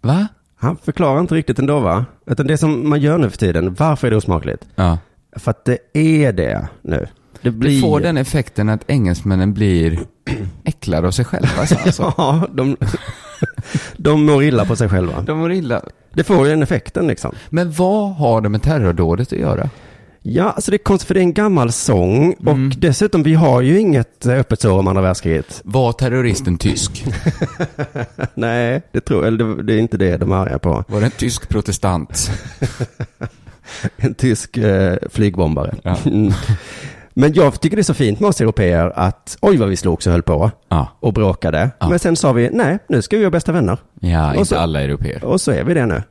C: Va?
B: Han förklarar inte riktigt ändå va? Utan det som man gör nu för tiden, varför är det osmakligt?
C: Ja.
B: För att det är det nu. Det blir...
C: Det får den effekten att engelsmännen blir äcklade av sig själva. så Alltså.
B: <laughs> Ja,
C: <laughs>
B: de... de mår illa på sig själva.
C: De mår illa.
B: Det får ju den effekten liksom.
C: Men vad har det med terrordådet att göra?
B: Ja, alltså det är konstigt för det är en gammal sång och
C: Mm.
B: dessutom vi har ju inget eh, öppet sår om andra världskriget. <laughs>
C: Var terroristen tysk?
B: Nej, det tror jag, eller det, det är inte det de är arga på.
C: Var det en tysk protestant?
B: en tysk eh, flygbombare. <laughs> Ja. Men jag tycker det är så fint med oss europeer att oj vad vi slogs och höll på
C: Ja.
B: och bråkade.
C: Ja.
B: Men sen sa vi nej, nu ska vi vara bästa vänner.
C: Ja,
B: Och
C: inte
B: så-
C: alla europeer.
B: Och så är vi det nu.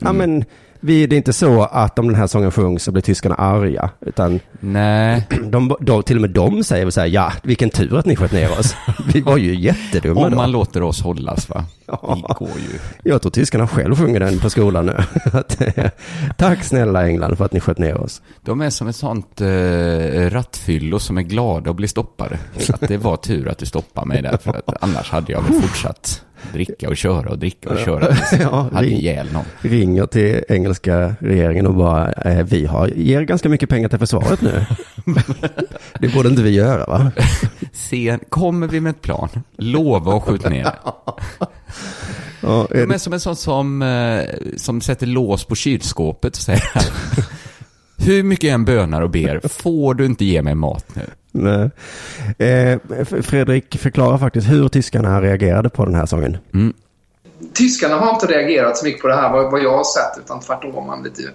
B: Ja,
C: Mm.
B: men vi, det är inte så att om den här sången sjungs så blir tyskarna arga. Utan
C: Nej,
B: de, de, till och med de säger väl så här, ja, vilken tur att ni sköt ner
C: <laughs>
B: oss. Vi var ju jättedumma
C: om
B: då.
C: man låter oss hållas va?
B: Ja.
C: Det går ju.
B: Jag tror tyskarna själv sjunger den på skolan nu. <laughs> Att, eh, Tack snälla England för att ni sköt ner oss.
C: De är som ett sånt eh, rattfyllo som är glada och blir stoppade. Att det var tur att du stoppade mig där, för att annars hade jag väl fortsatt dricka och köra och dricka och köra. tills jag
B: Ja,
C: hade
B: ring.
C: ihjäl någon.
B: Ringer till engelska regeringen och bara, eh, vi har, ger ganska mycket pengar till försvaret
C: <laughs>
B: nu. det borde inte vi göra va?
C: Sen kommer vi med ett plan, lova och skjut ner det.
B: Ja, är
C: De
B: det-
C: är som en sån som, eh, som sätter lås på kylskåpet och säger <laughs> Hur mycket jag än bönar och ber, får du inte ge mig mat nu?
B: nej. Eh, F- Fredrik förklarar faktiskt hur tyskarna reagerade på den här sången.
G: Tyskarna har inte reagerat så mycket på det här vad, vad jag har sett utan tvärtom har man blivit ju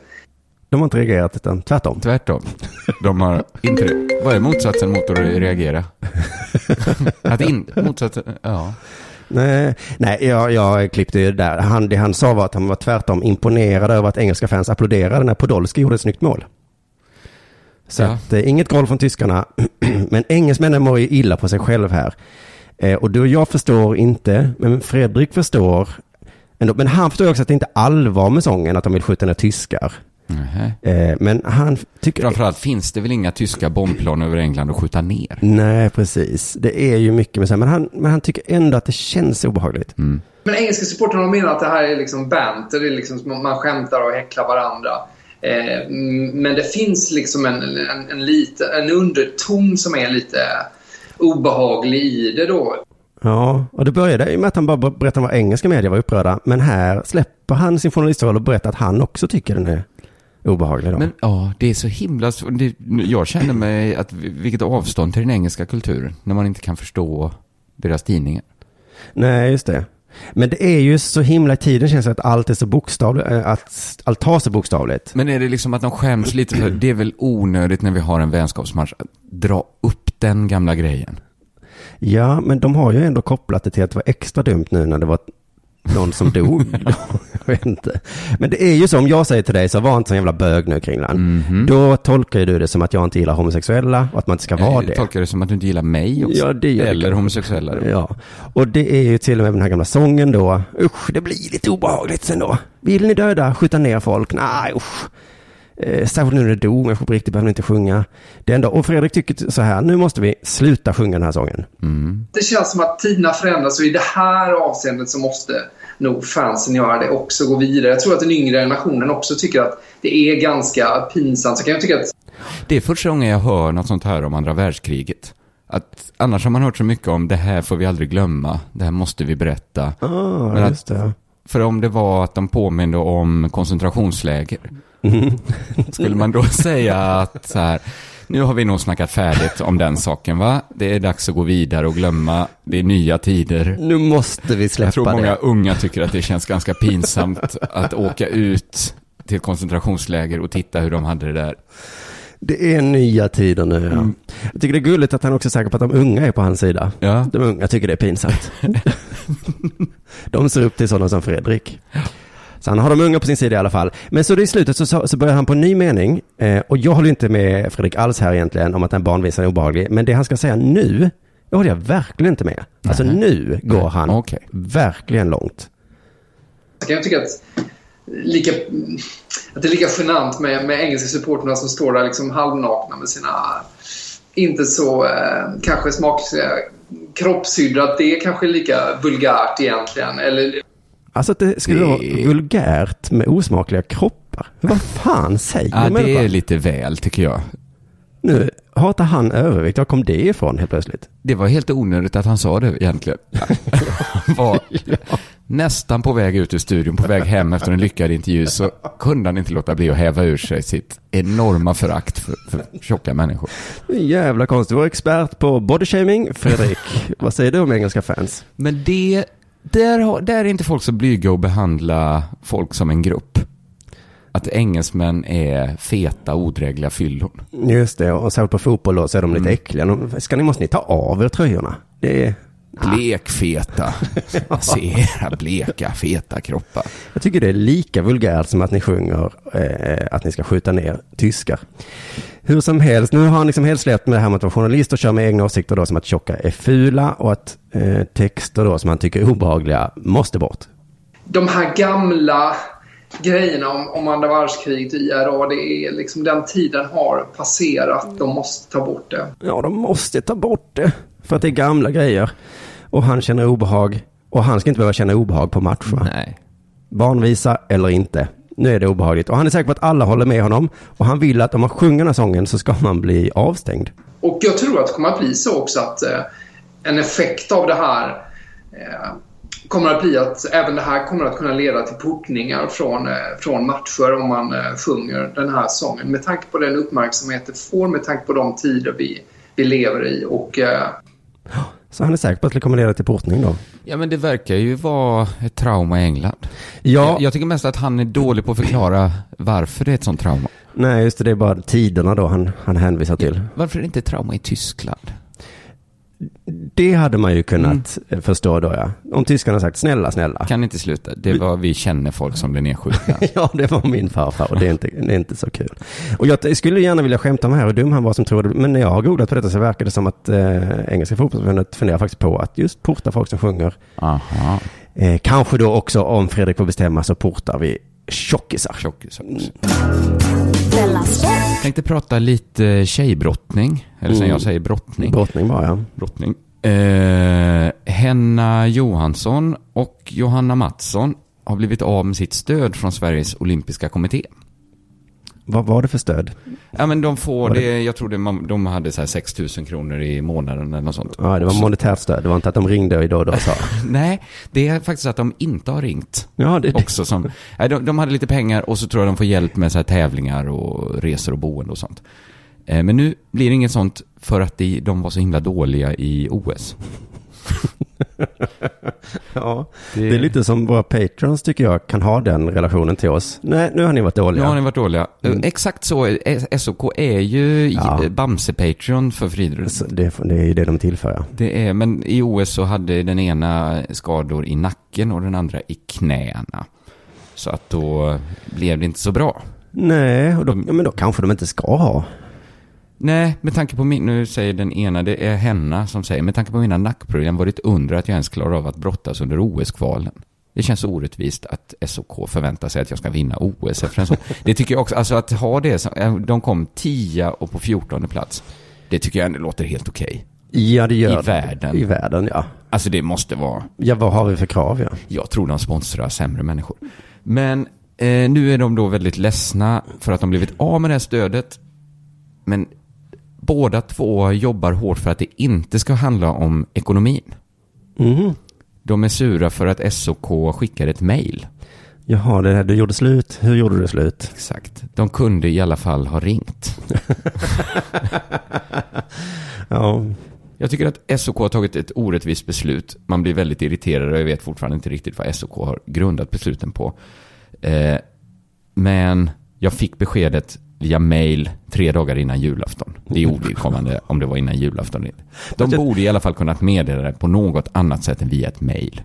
B: De har inte reagerat utan tvärtom.
C: Tvärtom. De har inte det. Vad är motsatsen mot att reagera? <laughs> Att in, motsatsen, ja.
B: Nej, nej jag, jag klippte ju där. Han, det han sa var att han var tvärtom imponerad över att engelska fans applåderade när Podolski gjorde ett snyggt mål. Så
C: Ja.
B: att, eh, inget groll från tyskarna, <clears throat> men engelsmännen mår ju illa på sig själv här. Eh, och då jag förstår inte, men Fredrik förstår. Ändå, men han förstår ju också att det inte är allvar med sången, att de vill skjuta ner tyskar.
C: Nähä.
B: Eh, men han tycker...
C: Framförallt finns det väl inga tyska bombplan över England att skjuta ner?
B: Nej, precis. Det är ju mycket med så här, men han, men han tycker ändå att det känns obehagligt.
G: Men engelska supportrarna de menar att det här är liksom banter, det är liksom, som man skämtar och häcklar varandra. Eh, mm, men det finns liksom en, en, en, lite, en underton som är lite obehaglig i det då.
B: Ja, och det började ju med att han bara berättade vad engelska medier var upprörda. Men här släpper han sin journalistroll och berättar att han också tycker den är obehaglig. Då.
C: Men ja, det är så himla svårt. Det- Jag känner mig att vilket avstånd till den engelska kulturen när man inte kan förstå deras tidningar.
B: Nej, just det. Men det är ju så himla i tiden känns det att allt är så bokstavligt, eh, att allt tar så bokstavligt.
C: Men är det liksom att de skäms lite för, det är väl onödigt när vi har en vänskapsmatch, att dra upp den gamla grejen?
B: Ja, men de har ju ändå kopplat det till att det var extra dumt nu när det var någon som dog. <laughs> jag vet inte. Men det är ju så, om jag säger till dig så var inte så jävla bög nu Kringland. Då tolkar ju du det som att jag inte gillar homosexuella och att man inte ska vara
C: Jag
B: det.
C: Eh, tolkar det som att du inte gillar mig också.
B: Ja, det gör jag.
C: Eller homosexuella. då.
B: Ja, och det är ju till och med den här gamla sången då. Usch, det blir lite obehagligt sen då. Vill ni döda, skjuta ner folk? Nej, usch. Eh, särskilt nu när det dog människor på riktigt, behöver ni inte sjunga. Det enda, och Fredrik tycker t- så här, nu måste vi sluta sjunga den här sången.
G: Det känns som att tiderna förändras och i det här avseendet så måste nog fansen göra det också, gå vidare. Jag tror att den yngre generationen också tycker att det är ganska pinsamt. Så kan jag tycka att
C: Det är första gången jag hör något sånt här om andra världskriget. Att annars har man hört så mycket om det här får vi aldrig glömma, det här måste vi berätta.
B: Ah,
C: Men att-
B: just det.
C: För om det var att de påminde om koncentrationsläger, <laughs> skulle man då säga att så här, nu har vi nog snackat färdigt om den saken va? Det är dags att gå vidare och glömma, det är nya tider.
B: Nu måste vi släppa
C: Jag tror många
B: det.
C: unga tycker att det känns ganska pinsamt att åka ut till koncentrationsläger och titta hur de hade det där.
B: Det är nya tider nu. Ja. Mm. Jag tycker det är gulligt att han också är säker på att de unga är på hans sida.
C: Ja.
B: De unga tycker det är
C: <laughs>
B: pinsamt. de ser upp till sådana som Fredrik. Så han har de unga på sin sida i alla fall. Men så det i slutet så- så, så börjar han på en ny mening. Eh, och jag håller ju inte med Fredrik alls här egentligen om att den barnvisan är obehaglig. Men det han ska säga nu, det håller jag verkligen inte med. Alltså nu går han
C: Okej.
B: verkligen långt.
G: Jag kan ju tycka att, lika, att det är lika genant med, med engelska supporterna som står där liksom halvnakna med sina inte så eh, kanske smakliga kroppshydror. Att det är kanske lika vulgärt egentligen. Eller,
B: Alltså att det skulle
C: Det-
B: vara vulgärt med osmakliga kroppar. Vad fan säger
C: Ja, det
B: människan?
C: är lite väl tycker jag.
B: Nu hatar han övervikt. Var kom det ifrån helt plötsligt?
C: Det var helt onödigt att han sa det <laughs> egentligen. Han var nästan på väg ut ur studion, på väg hem efter en lyckad intervju, så kunde han inte låta bli att häva ur sig sitt enorma förakt för, för tjocka människor.
B: Jävla konstigt. Vår expert på bodyshaming, Fredrik. <laughs> vad säger du om engelska fans?
C: Men det, där, har, där är inte folk så blyga att behandla folk som en grupp. att engelsmän är feta, odrägliga fyllon.
B: Just det, och särskilt på fotboll då så är de lite äckliga. De, ska ni, måste ni ta av er tröjorna? Det är...
C: Ah. <laughs> Blekfeta. Se era bleka, feta kroppar.
B: Jag tycker det är lika vulgärt som att ni sjunger eh, att ni ska skjuta ner tyskar. Hur som helst, nu har han liksom helt släppt med det här med att vara journalist och kör med egna åsikter då som att tjocka är fula och att eh, texter då som han tycker är obehagliga måste bort.
G: De här gamla grejerna om, om andra världskriget i IRA, det är liksom den tiden har passerat. De måste ta bort det.
B: Ja, de måste ta bort det. För att det är gamla grejer. Och han känner obehag. Och han ska inte behöva känna obehag på match va?
C: Nej.
B: Barnvisa eller inte. Nu är det obehagligt. Och han är säker på att alla håller med honom. Och han vill att om man sjunger den här sången så ska man bli avstängd.
G: Och jag tror att det kommer att bli så också att eh, en effekt av det här eh, kommer att bli att även det här kommer att kunna leda till portningar från, eh, från matcher om man eh, sjunger den här sången. Med tanke på den uppmärksamhet det får, med tanke på de tider vi, vi lever i. Och, eh,
B: Så han är säker på att det kommer leda till portning då.
C: Ja, men det verkar ju vara ett trauma i England.
B: Ja,
C: Jag, jag tycker mest att han är dålig på att förklara varför det är ett sånt trauma.
B: nej just det, det är bara tiderna då han, han hänvisar till.
C: Varför är det inte ett trauma i Tyskland?
B: Det hade man ju kunnat eh, förstå då ja. Om tyskarna sagt snälla, snälla.
C: Kan inte sluta. Det var vi känner folk som blir nedskjutna.
B: <laughs> Ja, det var min farfar och det är inte, det är inte så kul. Och jag t- skulle gärna vilja skämta om här hur dum han var som trodde, men när jag har googlat på detta så verkar det som att eh, Engelska fotbollsförbundet funderar faktiskt på att just porta folk som sjunger.
C: Aha,
B: Eh, kanske då också om Fredrik får bestämma så portar vi tjockisar.
C: tjockisar.
A: Della Sport.
C: Tänkte prata lite tjejbrottning. Eller som jag säger, brottning.
B: Brottning bara ja.
C: brottning. Eh, Henna Johansson och Johanna Mattsson har blivit av med sitt stöd från Sveriges olympiska kommitté.
B: Vad var det för stöd?
C: Ja, men de får
B: Var det-
C: det, jag tror det, man- de hade så här 6 000 kronor i månaden eller något sånt.
B: Ja, det var monetärt stöd. Det var inte att de ringde idag och då och
C: <laughs>
B: sa.
C: Nej, det är faktiskt att de inte har ringt.
B: Ja, det, <laughs>
C: Också som, nej, de, de hade lite pengar och så tror jag de får hjälp med så här tävlingar och resor och boende och sånt. Eh, men nu blir det inget sånt för att de, de var så himla dåliga i OS.
B: ja. det är lite som våra patrons tycker jag kan ha den relationen till oss. Nej, nu har ni varit dåliga.
C: Nu har ni varit dåliga. Eh, Exakt så, är- SOK är ju
B: Mm. Ja.
C: i- Bamse-Patreon för friidrott.
B: Så det, det är ju det de tillför ja.
C: Det är, men i OS så hade den ena skador i nacken och den andra i knäna. Så att då blev det inte så bra.
B: Nej, och då,
C: Mm.
B: ja, men då kanske de inte ska ha.
C: Nej, med tanke på min, nu säger den ena, det är henna som säger, med tanke på mina nackproblem var det ett under att jag ens klarar av att brottas under OS-kvalen. Det känns orättvist att SOK förväntar sig att jag ska vinna OS efter en sån. Det tycker jag också, alltså att ha det som, eh, de kom 10 och på 14 plats. Det tycker jag ändå låter helt okej.
B: Ja, det gör
C: I
B: det.
C: världen.
B: I världen, ja.
C: Alltså det måste vara,
B: Ja, vad har vi för krav, ja.
C: jag tror de sponsrar sämre människor. Men eh, nu är de då väldigt ledsna för att de blivit av med det här stödet. Men båda två jobbar hårt för att det inte ska handla om ekonomin.
B: Mhm.
C: De är sura för att SOK skickade ett mejl.
B: Jaha, det här, du gjorde slut. Hur gjorde du slut?
C: Exakt. De kunde i alla fall ha ringt.
B: Ja,
C: Jag tycker att SOK har tagit ett orättvist beslut. Man blir väldigt irriterad och jag vet fortfarande inte riktigt vad SOK har grundat besluten på. Eh, men jag fick beskedet via mail tre dagar innan julafton. Det är ovidkommande om det var innan julafton. De borde i alla fall kunnat meddela det på något annat sätt än via ett mail.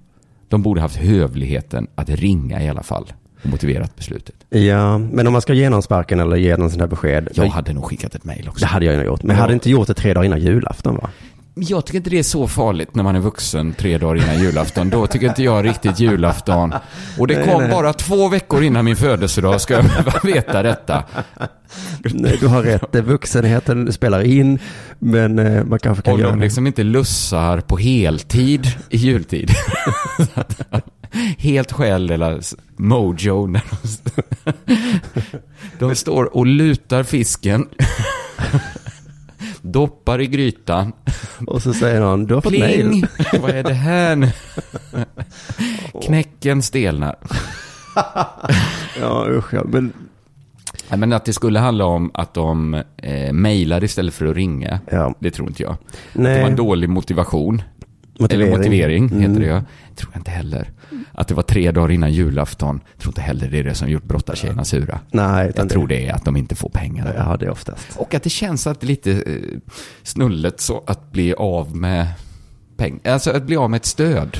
C: De borde haft hövligheten att ringa i alla fall och motiverat beslutet.
B: ja. men om man ska ge någon sparken eller ge någon sån här besked.
C: Jag hade nog skickat ett mail också.
B: Det hade jag nog gjort. Men jag hade inte gjort det tre dagar innan julafton, va?
C: Jag tycker inte det är så farligt när man är vuxen tre dagar innan julafton. Då tycker inte jag riktigt julafton. Och det kom bara två veckor innan min födelsedag ska jag behöva <laughs> veta detta.
B: Nej, du har rätt.
C: <laughs>
B: Det är Vuxenheten spelar in, men eh, man kanske kan
C: Och
B: göra
C: de liksom inte lussar på heltid i jultid. <laughs> Så att- Helt skäl eller s- mojo. När de, s- <laughs> de står och lutar fisken. <laughs> Doppar i grytan.
B: det. Och så säger någon, du har fått
C: Pling!
B: mejl.
C: <laughs> Vad är det här nu? Knäcken stelnar.
B: Ja, usch, ja. Men
C: Nej, men att det skulle handla om att de eh, mejlade istället för att ringa,
B: Ja.
C: det tror inte jag. Det var
B: nej,
C: en dålig motivation. Motivering. Eller motivering heter mm. det ja. Tror jag inte heller. Att det var tre dagar innan julafton. Tror inte heller det är det som gjort brottartjejerna sura.
B: Nej,
C: jag tror det är att de inte får pengar.
B: Ja, det är oftast.
C: Och att det känns att det är lite eh, snullet så att bli av med pengar. Alltså att bli av med ett stöd.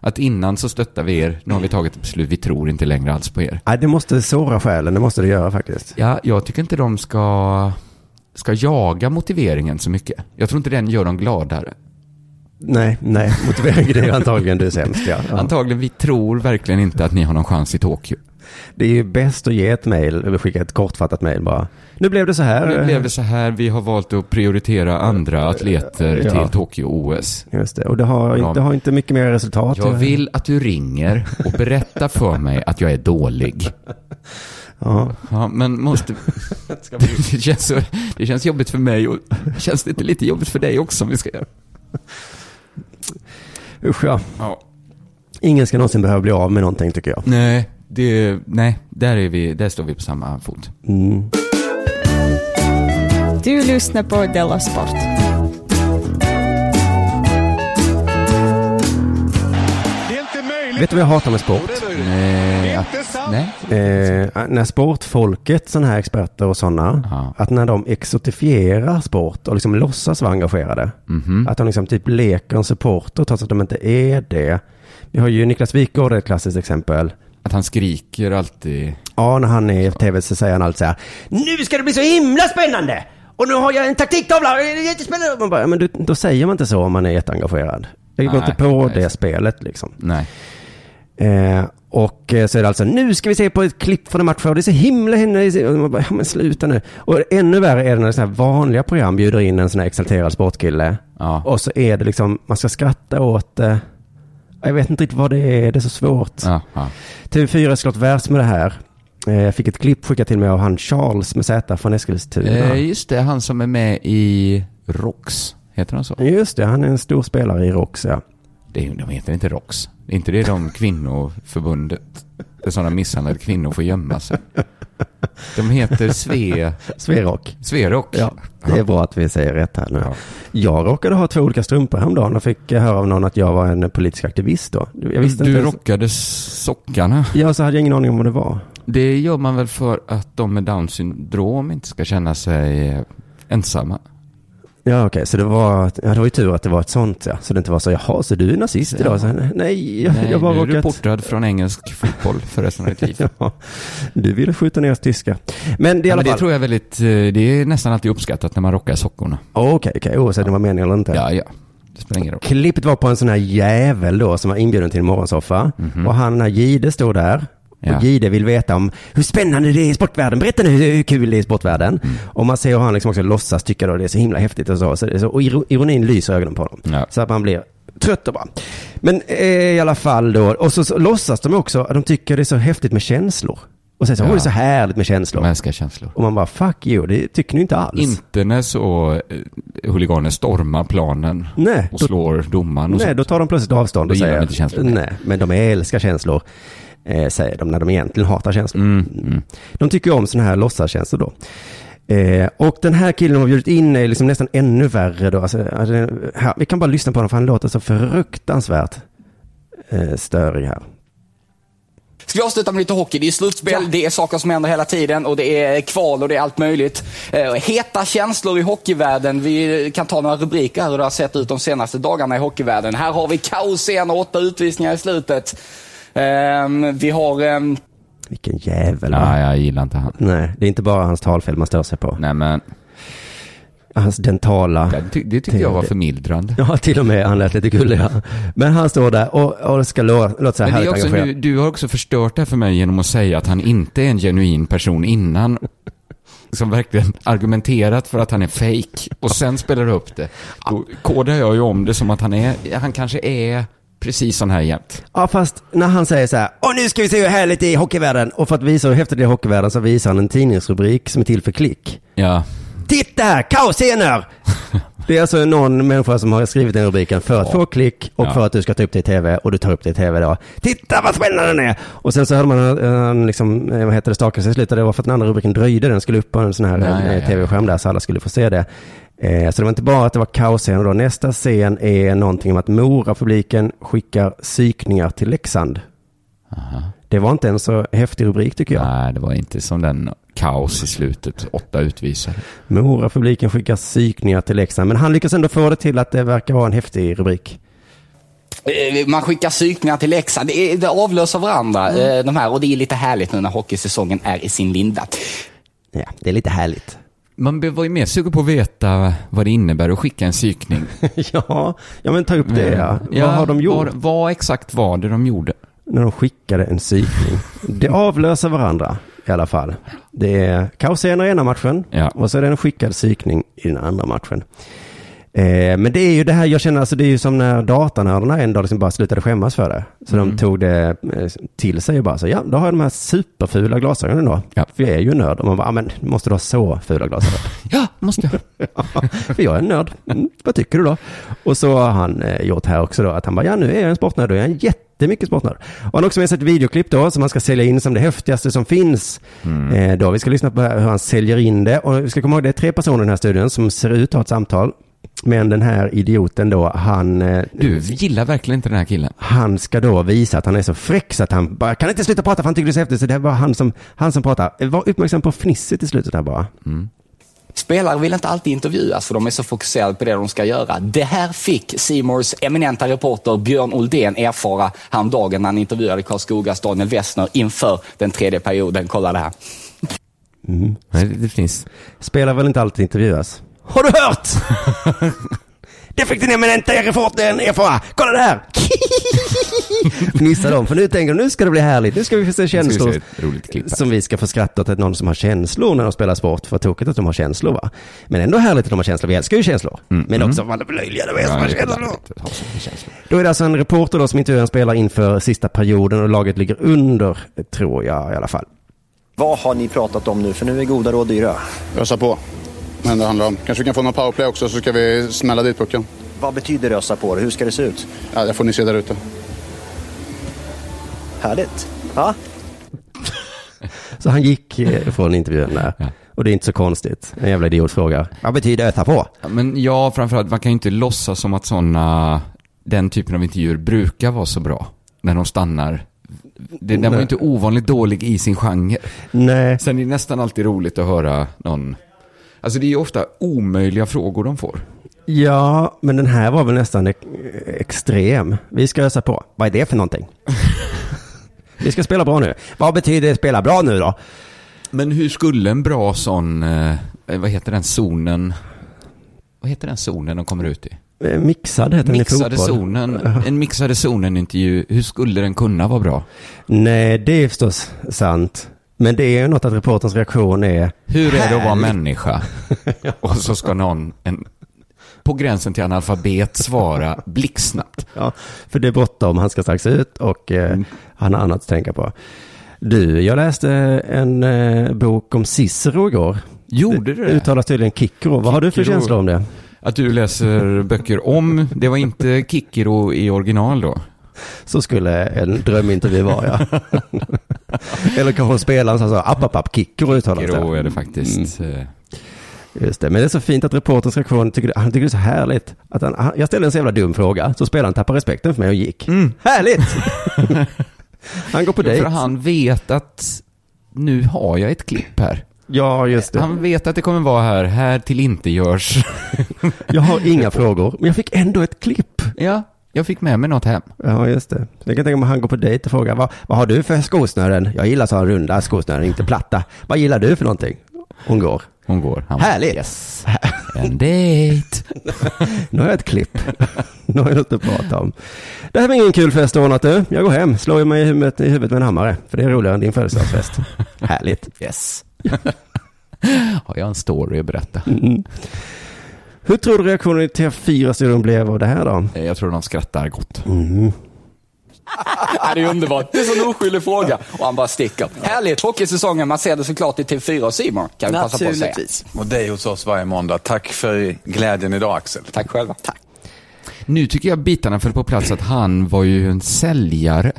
C: Att innan så stöttar vi er, nu har vi tagit ett beslut, vi tror inte längre alls på er.
B: Nej, det måste såra själen, det måste det göra faktiskt.
C: Ja, jag tycker inte de ska, ska jaga motiveringen så mycket. Jag tror inte den gör dem gladare.
B: Nej, nej, motiveringen är antagligen du sämst. Ja.
C: ja. Antagligen, vi tror verkligen inte att ni har någon chans i Tokyo.
B: Det är ju bäst att ge ett mejl, eller skicka ett kortfattat mejl bara. Nu blev det så här.
C: Nu blev det så här, vi har valt att prioritera andra atleter ja. till Tokyo-OS.
B: Just det, och det har, ja. det har inte mycket mer resultat.
C: Jag vill att du ringer och berättar för mig att jag är dålig. Ja. ja. men <laughs> måste... Det känns, det känns jobbigt för mig och känns det inte lite jobbigt för dig också om vi ska göra?
B: Usch ja. ja. Ingen ska någonsin behöva bli av med någonting tycker jag.
C: Nej, det, nej där, är vi, där står vi på samma fot. Mm.
E: Du lyssnar på Della Sport.
B: Vet du vad jag hatar med sport?
C: Nej. Att, nej.
B: Eh, när sportfolket, sådana här experter och sådana, Aha. att när de exotifierar sport och liksom låtsas vara engagerade. Mm -hmm. Att de liksom typ leker en supporter trots att de inte är det. Vi har ju Niklas Wikgård ett klassiskt exempel.
C: Att han skriker alltid.
B: Ja, när han är i tv så säger han alltid så här. Nu ska det bli så himla spännande! Och nu har jag en taktiktavla! Det är jättespännande! Man bara, men du, då säger man inte så om man är jätteengagerad. Det går inte på nej. det spelet liksom.
C: Nej.
B: Eh, och så är det alltså, nu ska vi se på ett klipp från en match och det är så himla henne. Och man bara, ja, men sluta nu. Och ännu värre är det när sådana här vanliga program bjuder in en sån här exalterad sportkille.
C: Ja.
B: Och så är det liksom, man ska skratta åt det. Eh, jag vet inte riktigt vad det är, det är så svårt.
C: Ja, ja.
B: TV4 har slått världs med det här. Eh, jag fick ett klipp skickat till mig av han Charles med Z från Eskilstuna.
C: Eh, just det, han som är med i Rox. Heter han så?
B: Just det, han är en stor spelare i Rox, ja.
C: Det är, de heter inte ROX. Är inte det de kvinnoförbundet där sådana misshandlade kvinnor får gömma sig? De heter Sve...
B: Sverok.
C: Sverok.
B: Ja, det är bra att vi säger rätt här nu. Ja. Jag råkade ha två olika strumpor häromdagen och fick höra av någon att jag var en politisk aktivist då.
C: Jag visste du inte rockade sockarna.
B: Ja, så hade jag ingen aning om vad det var.
C: Det gör man väl för att de med down syndrom inte ska känna sig eh, ensamma.
B: Ja, okej, okay. så det var, ja, det var ju tur att det var ett sånt, ja. Så det inte var så, jaha, så du är nazist ja. idag? Så, nej, <laughs> jag, nej, jag bara
C: nu
B: råkat...
C: är du portad från engelsk fotboll för resten av ditt liv.
B: <laughs> ja, du ville skjuta ner oss tyska. Men det, ja,
C: men
B: fall...
C: det tror jag väldigt, eh, det är nästan alltid uppskattat när man rockar sockorna.
B: Okej, okay, okej, okay. oavsett om det var meningen eller inte.
C: Ja, ja. Det spelar ingen roll.
B: Klippet var på en sån här jävel då som var inbjuden till en morgonsoffa. Mm -hmm. Och han, den här Gide, står där. Ja. Och Gide vill veta om hur spännande det är i sportvärlden. Berätta nu hur kul det är i sportvärlden. Mm. Och man ser hur han liksom också låtsas tycka då det är så himla häftigt och så. så och ironin lyser ögonen på honom. Ja. Så att man blir trött och bara. Men eh, i alla fall då. Och så, så låtsas de också att de tycker det är så häftigt med känslor. Och sen så, ja. åh det är så härligt med känslor.
C: De älskar känslor.
B: Och man bara, fuck you, det tycker ni inte alls.
C: Inte när så eh, huliganer stormar planen
B: nej,
C: och då, slår domaren. Och
B: nej,
C: sånt.
B: då tar de plötsligt avstånd
C: då
B: och säger,
C: inte känslor.
B: nej, men de älskar känslor eh, säger de när de egentligen hatar känslor. Mm, mm. De tycker om sådana här låtsastjänster då. Eh, och den här killen de har bjudit in är liksom nästan ännu värre då. Alltså, här, vi kan bara lyssna på honom för han låter så fruktansvärt eh, störig här.
H: Ska vi avsluta med lite hockey? Det är slutspel, ja. det är saker som händer hela tiden och det är kval och det är allt möjligt. Eh, heta känslor i hockeyvärlden. Vi kan ta några rubriker här hur det har sett ut de senaste dagarna i hockeyvärlden. Här har vi kaos igen och åtta utvisningar i slutet. Um, vi har... Um...
B: Vilken jävel.
C: Va? Ja, jag gillar inte han.
B: Nej, det är inte bara hans talfel man stör sig på.
C: Nej, men...
B: Hans dentala...
C: Det, ty det tyckte jag var förmildrande.
B: Ja, till och med. Han lät lite gullig. Ja. Men han står där och, och ska låta lå så här
C: men det är också, nu, Du har också förstört det här för mig genom att säga att han inte är en genuin person innan. som verkligen argumenterat för att han är fake och sen spelar du upp det. Då kodar jag ju om det som att han är, han kanske är precis sån här jämt.
B: Ja, fast när han säger så här, och nu ska vi se hur härligt det är i hockeyvärlden. Och för att visa hur häftigt det är i hockeyvärlden så visar han en tidningsrubrik som är till för klick.
C: Ja.
B: Titta här, kaosscener! <laughs> det är alltså någon människa som har skrivit den rubriken för att ja. få klick och ja. för att du ska ta upp det i tv och du tar upp det i tv då. Titta vad spännande den är! Och sen så hörde man han liksom, vad eh, heter det, stakade sig i slutet. Det var för att den andra rubriken dröjde. Den skulle upp på en sån här tv-skärm där så alla skulle få se det. Eh, så det var inte bara att det var kaosscener då. Nästa scen är någonting om att Mora-publiken skickar psykningar till Leksand. Aha. Det var inte en så häftig rubrik tycker jag.
C: Nej, det var inte som den kaos i slutet, åtta utvisade.
B: Mora-publiken skickar psykningar till Leksand, men han lyckas ändå få det till att det verkar vara en häftig rubrik.
H: eh, Man skickar psykningar till Leksand. Det, är, det avlöser varandra, mm. de här. Och det är lite härligt nu när hockeysäsongen är i sin linda.
B: Ja, det är lite härligt. <laughs>
C: Man var ju mer sugen på att veta vad det innebär att skicka en psykning.
B: ja, ja, men ta upp det. <laughs> Ja. Mm. ja vad har de gjort? Var,
C: vad exakt var det de gjorde?
B: När de skickade en psykning. det avlöser varandra i alla fall. Det är kaosscener i ena matchen ja. och så är det en skickad psykning i den andra matchen. Eh, men det är ju det här, jag känner alltså det är ju som när datanördarna en dag liksom bara slutade skämmas för det. Så mm. de tog det till sig och bara så, ja, då har jag de här superfula glasögonen då. Ja. För jag är ju nörd. Och man bara, ah, men måste du ha så fula glasögon?
C: ja, måste jag.
B: ja, <laughs> för jag är en nörd. Mm, vad tycker du då? Och så har han eh, gjort här också då, att han bara, ja nu är jag en sportnörd och jag är en jätte jättemycket sportnörd. Och han har också med sig ett videoklipp då som han ska sälja in som det häftigaste som finns. Mm. Eh, då. Vi ska lyssna på hur han säljer in det. Och vi ska komma ihåg det är tre personer i den här studion som ser ut att ha ett samtal. Men den här idioten då, han... Eh,
C: du gillar verkligen inte den här killen.
B: Han ska då visa att han är så fräck så att han bara, kan inte sluta prata för han tycker det är så häftigt. Så det var han som, han som pratade. Var uppmärksam på fnisset i slutet här bara. Mm.
H: Spelare vill inte alltid intervjuas för de är så fokuserade på det de ska göra. Det här fick Simors eminenta reporter Björn Oldén erfara häromdagen när han intervjuade Karlskogas Daniel Westner inför den tredje perioden. Kolla det här.
C: Mm. det finns.
B: Spelare vill inte alltid intervjuas. Har du <laughs> hört? det fick den eminenta reportern erfara. Kolla det <laughs> här! Fnissar de, för nu tänker de nu ska det bli härligt. Nu ska vi få se känslor. Vi se som vi ska få skratta åt att någon som har känslor när de spelar sport. För tokigt att de har känslor va. Men ändå härligt att de har känslor. Vi älskar ju känslor. Mm. Men också mm. vad löjliga de är som har känslor. Då är det alltså en reporter då som intervjuar en spelare inför sista perioden och laget ligger under, tror jag i alla fall.
I: Vad har ni pratat om nu? För nu är goda råd dyra.
J: Ösa på. Men det handlar om. Kanske vi kan få någon powerplay också så ska vi smälla dit pucken.
I: Vad betyder rösa på det? Hur ska det se ut?
J: Ja, det får ni se där ute.
I: Härligt. Ja.
B: så han gick eh, från intervjun där. Ja. Och det är inte så konstigt. En jävla idiot frågar. Vad betyder öta på?
C: Ja, men ja, framförallt, man kan ju inte låtsas som att sådana, den typen av intervjuer brukar vara så bra. När de stannar det, den var ju inte ovanligt dålig i sin genre.
B: Nej.
C: Sen är det nästan alltid roligt att höra någon... Alltså det är ju ofta omöjliga frågor de får.
B: Ja, men den här var väl nästan extrem. Vi ska ösa på. Vad är det för någonting? Vi ska spela bra nu. Vad betyder spela bra nu då?
C: Men hur skulle en bra sån, eh, vad heter den zonen, vad heter den zonen de kommer ut i?
B: Eh, Mixad heter
C: mixade
B: den i fotboll.
C: Zonen, en mixade zonen-intervju, hur skulle den kunna vara bra?
B: Nej, det är förstås sant. Men det är ju något att reporterns reaktion är...
C: Hur är det att vara människa? ja. Och så ska någon, en, på gränsen till analfabet, svara blixtsnabbt.
B: ja, för det är bråttom, han ska strax ut och eh, mm. han har annat att tänka på. Du, jag läste en eh, bok om Cicero igår.
C: Gjorde du det?
B: Uttalas tydligen Kikro. Vad Kikro. har du för känsla om det?
C: Att du läser böcker om, det var inte Kikro i original då?
B: Så skulle en drömintervju vara,
C: <laughs>
B: ja. Eller kanske spelaren som sa app, app, app, Kikro uttalas
C: det. Kikro är det faktiskt. Mm.
B: Just det, men det är så fint att reporterns reaktion, tycker, han tycker det är så härligt. Att han, han, jag ställde en så jävla dum fråga, så spelaren tappade respekten för mig och gick. Mm.
C: <laughs>
B: Härligt! han går på dejt.
C: För han vet att nu har jag ett klipp här.
B: Ja, just det.
C: Han vet att det kommer vara här, här till inte görs.
B: jag har inga frågor, men jag fick ändå ett klipp.
C: <laughs> Ja, jag fick med mig något hem.
B: Ja, just det. Jag kan tänka mig att han går på dejt och frågar, vad, vad har du för skosnören? Jag gillar sådana runda skosnören, inte platta. Vad gillar du för någonting? Hon går.
C: Hon går.
B: Han Härligt!
C: Yes. En dejt!
B: nu har jag ett klipp. nu har jag något att prata om. Det här var ingen kul fest ordnat du. Jag går hem, slår mig i huvudet, i huvudet med en hammare. För det är roligare än din födelsedagsfest. <laughs> Härligt.
C: Yes. har jag en story att berätta?
B: Mm. Hur tror du reaktionen i TV4-studion blev av det här då?
C: Jag tror de skrattar gott.
B: Mm.
H: ja, det är underbart. Det är en sån oskyldig fråga. Och han bara sticker. Härligt. Hockeysäsongen, man ser det såklart i TV4 och Simon. Kan vi passa på att säga.
K: Och dig hos oss varje måndag. Tack för glädjen idag Axel.
H: Tack själva. Tack.
C: Nu tycker jag bitarna föll på plats att han var ju en säljare.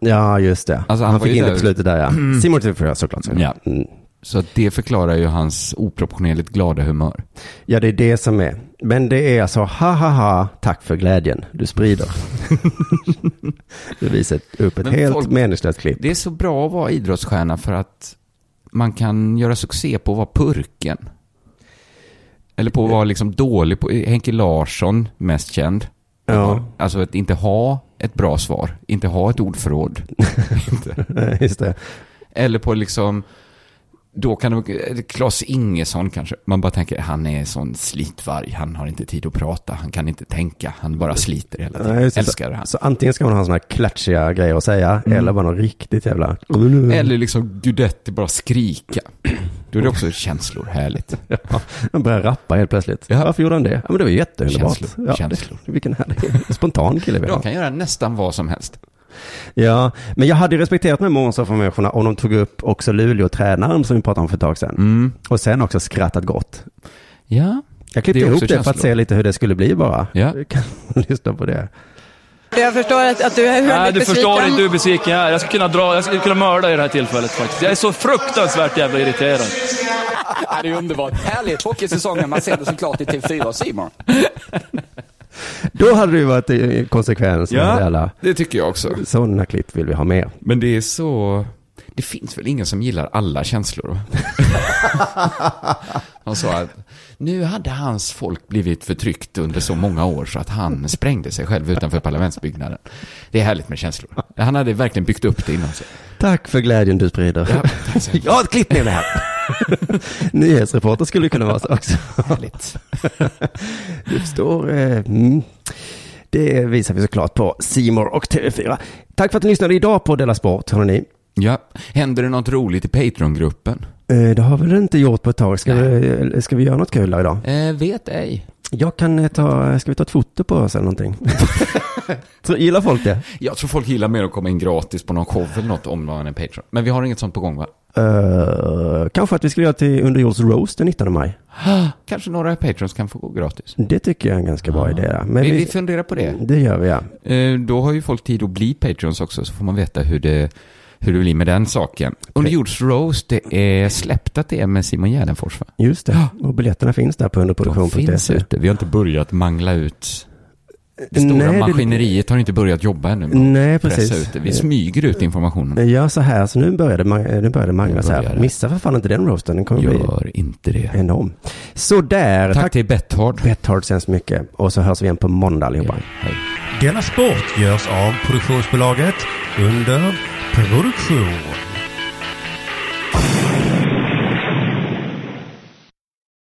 B: Ja, just det. Alltså, han, han fick in det på slutet där ja. Mm. Simon TV4 såklart. Så.
C: Ja. Mm. Så det förklarar ju hans oproportionerligt glada humör.
B: Ja, det är det som är. Men det är alltså ha ha ha, tack för glädjen du <laughs> sprider. det visar upp ett Men helt folk, meningslöst <laughs> klipp.
C: Det är så bra att vara idrottsstjärna för att man kan göra succé på att vara purken. Eller på att vara liksom dålig på, Henke Larsson, mest känd. Ja. Alltså att inte ha ett bra svar, inte ha ett ordförråd.
B: Just det.
C: Eller på liksom, då kan det, Klas Ingesson kanske, man bara tänker han är sån slitvarg, han har inte tid att prata, han kan inte tänka, han bara sliter hela tiden, Nej, älskar det.
B: Så antingen ska man ha sådana här klatschiga grejer att säga, mm. eller bara något riktigt jävla...
C: Eller liksom Gudetti bara skrika. Då är det också känslor, härligt.
B: ja, han börjar rappa helt plötsligt. Ja. Varför gjorde han det? Ja, men det var jätteunderbart.
C: Känslor, ja, känslor.
B: Det, <laughs> vilken härlig, spontan kille vi
C: har. Jag kan göra nästan vad som helst.
B: Ja, men jag hade respekterat de här morgonsofformänniskorna om de tog upp också Luleå-tränaren som vi pratade om för ett tag sedan. Mm. Och sen också skrattat gott.
C: Ja.
B: Jag klippte ihop det känslor. för att se lite hur det skulle bli bara.
C: Ja.
B: Du <laughs> kan lyssna på det.
L: Jag förstår att, att du är väldigt
M: Nej, du
L: besviken.
M: förstår inte hur besviken jag är. Jag skulle kunna dra, jag skulle kunna mörda i det här tillfället faktiskt. Jag är så fruktansvärt jävla irriterad.
H: Ja, det är underbart. Härligt! Hockeysäsongen, man ser det såklart i TV4 och Simon.
B: Då hade det ju varit konsekvens.
C: Ja, alla. det tycker jag också.
B: Sådana klipp vill vi ha med.
C: Men det är så... Det finns väl ingen som gillar alla <laughs> känslor? Han sa att nu hade hans folk blivit förtryckt under så många år så att han sprängde sig själv utanför parlamentsbyggnaden. Det är härligt med känslor. Han hade verkligen byggt upp det inom sig.
B: Tack för glädjen du sprider. Ja, tack så jag har ett klipp med mig här. <laughs> Nyhetsreporter skulle kunna vara så också. <laughs>
C: Härligt.
B: Du förstår. Eh, mm. Det visar vi såklart på Simor och TV4. Tack för att ni lyssnade idag på Della Sport, hörni.
C: Ja, händer det något roligt i Patreon-gruppen?
B: Eh, det har vi väl inte gjort på ett tag. Ska, vi, eh, ska vi göra något kul här idag?
C: Eh, vet ej.
B: Jag kan eh, ta, ska vi ta ett foto på oss eller
C: <laughs>
B: någonting? gillar folk det?
C: Jag tror folk gillar mer att komma in gratis på någon show eller något om man är Patreon. Men vi har inget sånt på gång va?
B: Uh, kanske att vi skulle göra till Underjords Roast den 19 maj.
C: Kanske några Patrons kan få gå gratis.
B: Det tycker jag är en ganska bra uh, idé.
C: Men Ah. vi, vi funderar på det.
B: Det gör vi ja.
C: Uh, då har ju folk tid att bli Patrons också så får man veta hur det, hur det blir med den saken. Underjords Roast, det är släppt att det är med Simon Gärdenfors va?
B: Just det, och biljetterna finns där på underproduktion.se.
C: Ah. De finns ute, vi har inte börjat mangla ut det stora nej, maskineriet det... har inte börjat jobba ännu.
B: Nej, precis. Eh,
C: Ut det. Vi smyger ut informationen.
B: Ja, så här, så nu började eh, nu började mangla så här. Missa för fan inte den roasten, den kommer
C: Gör bli inte det.
B: enorm. Så där.
C: Tack, tack till Betthard.
B: Betthard så hemskt mycket. Och så hörs vi igen på måndag allihopa. Ja,
C: hej.
N: Denna sport görs av produktionsbolaget under produktion.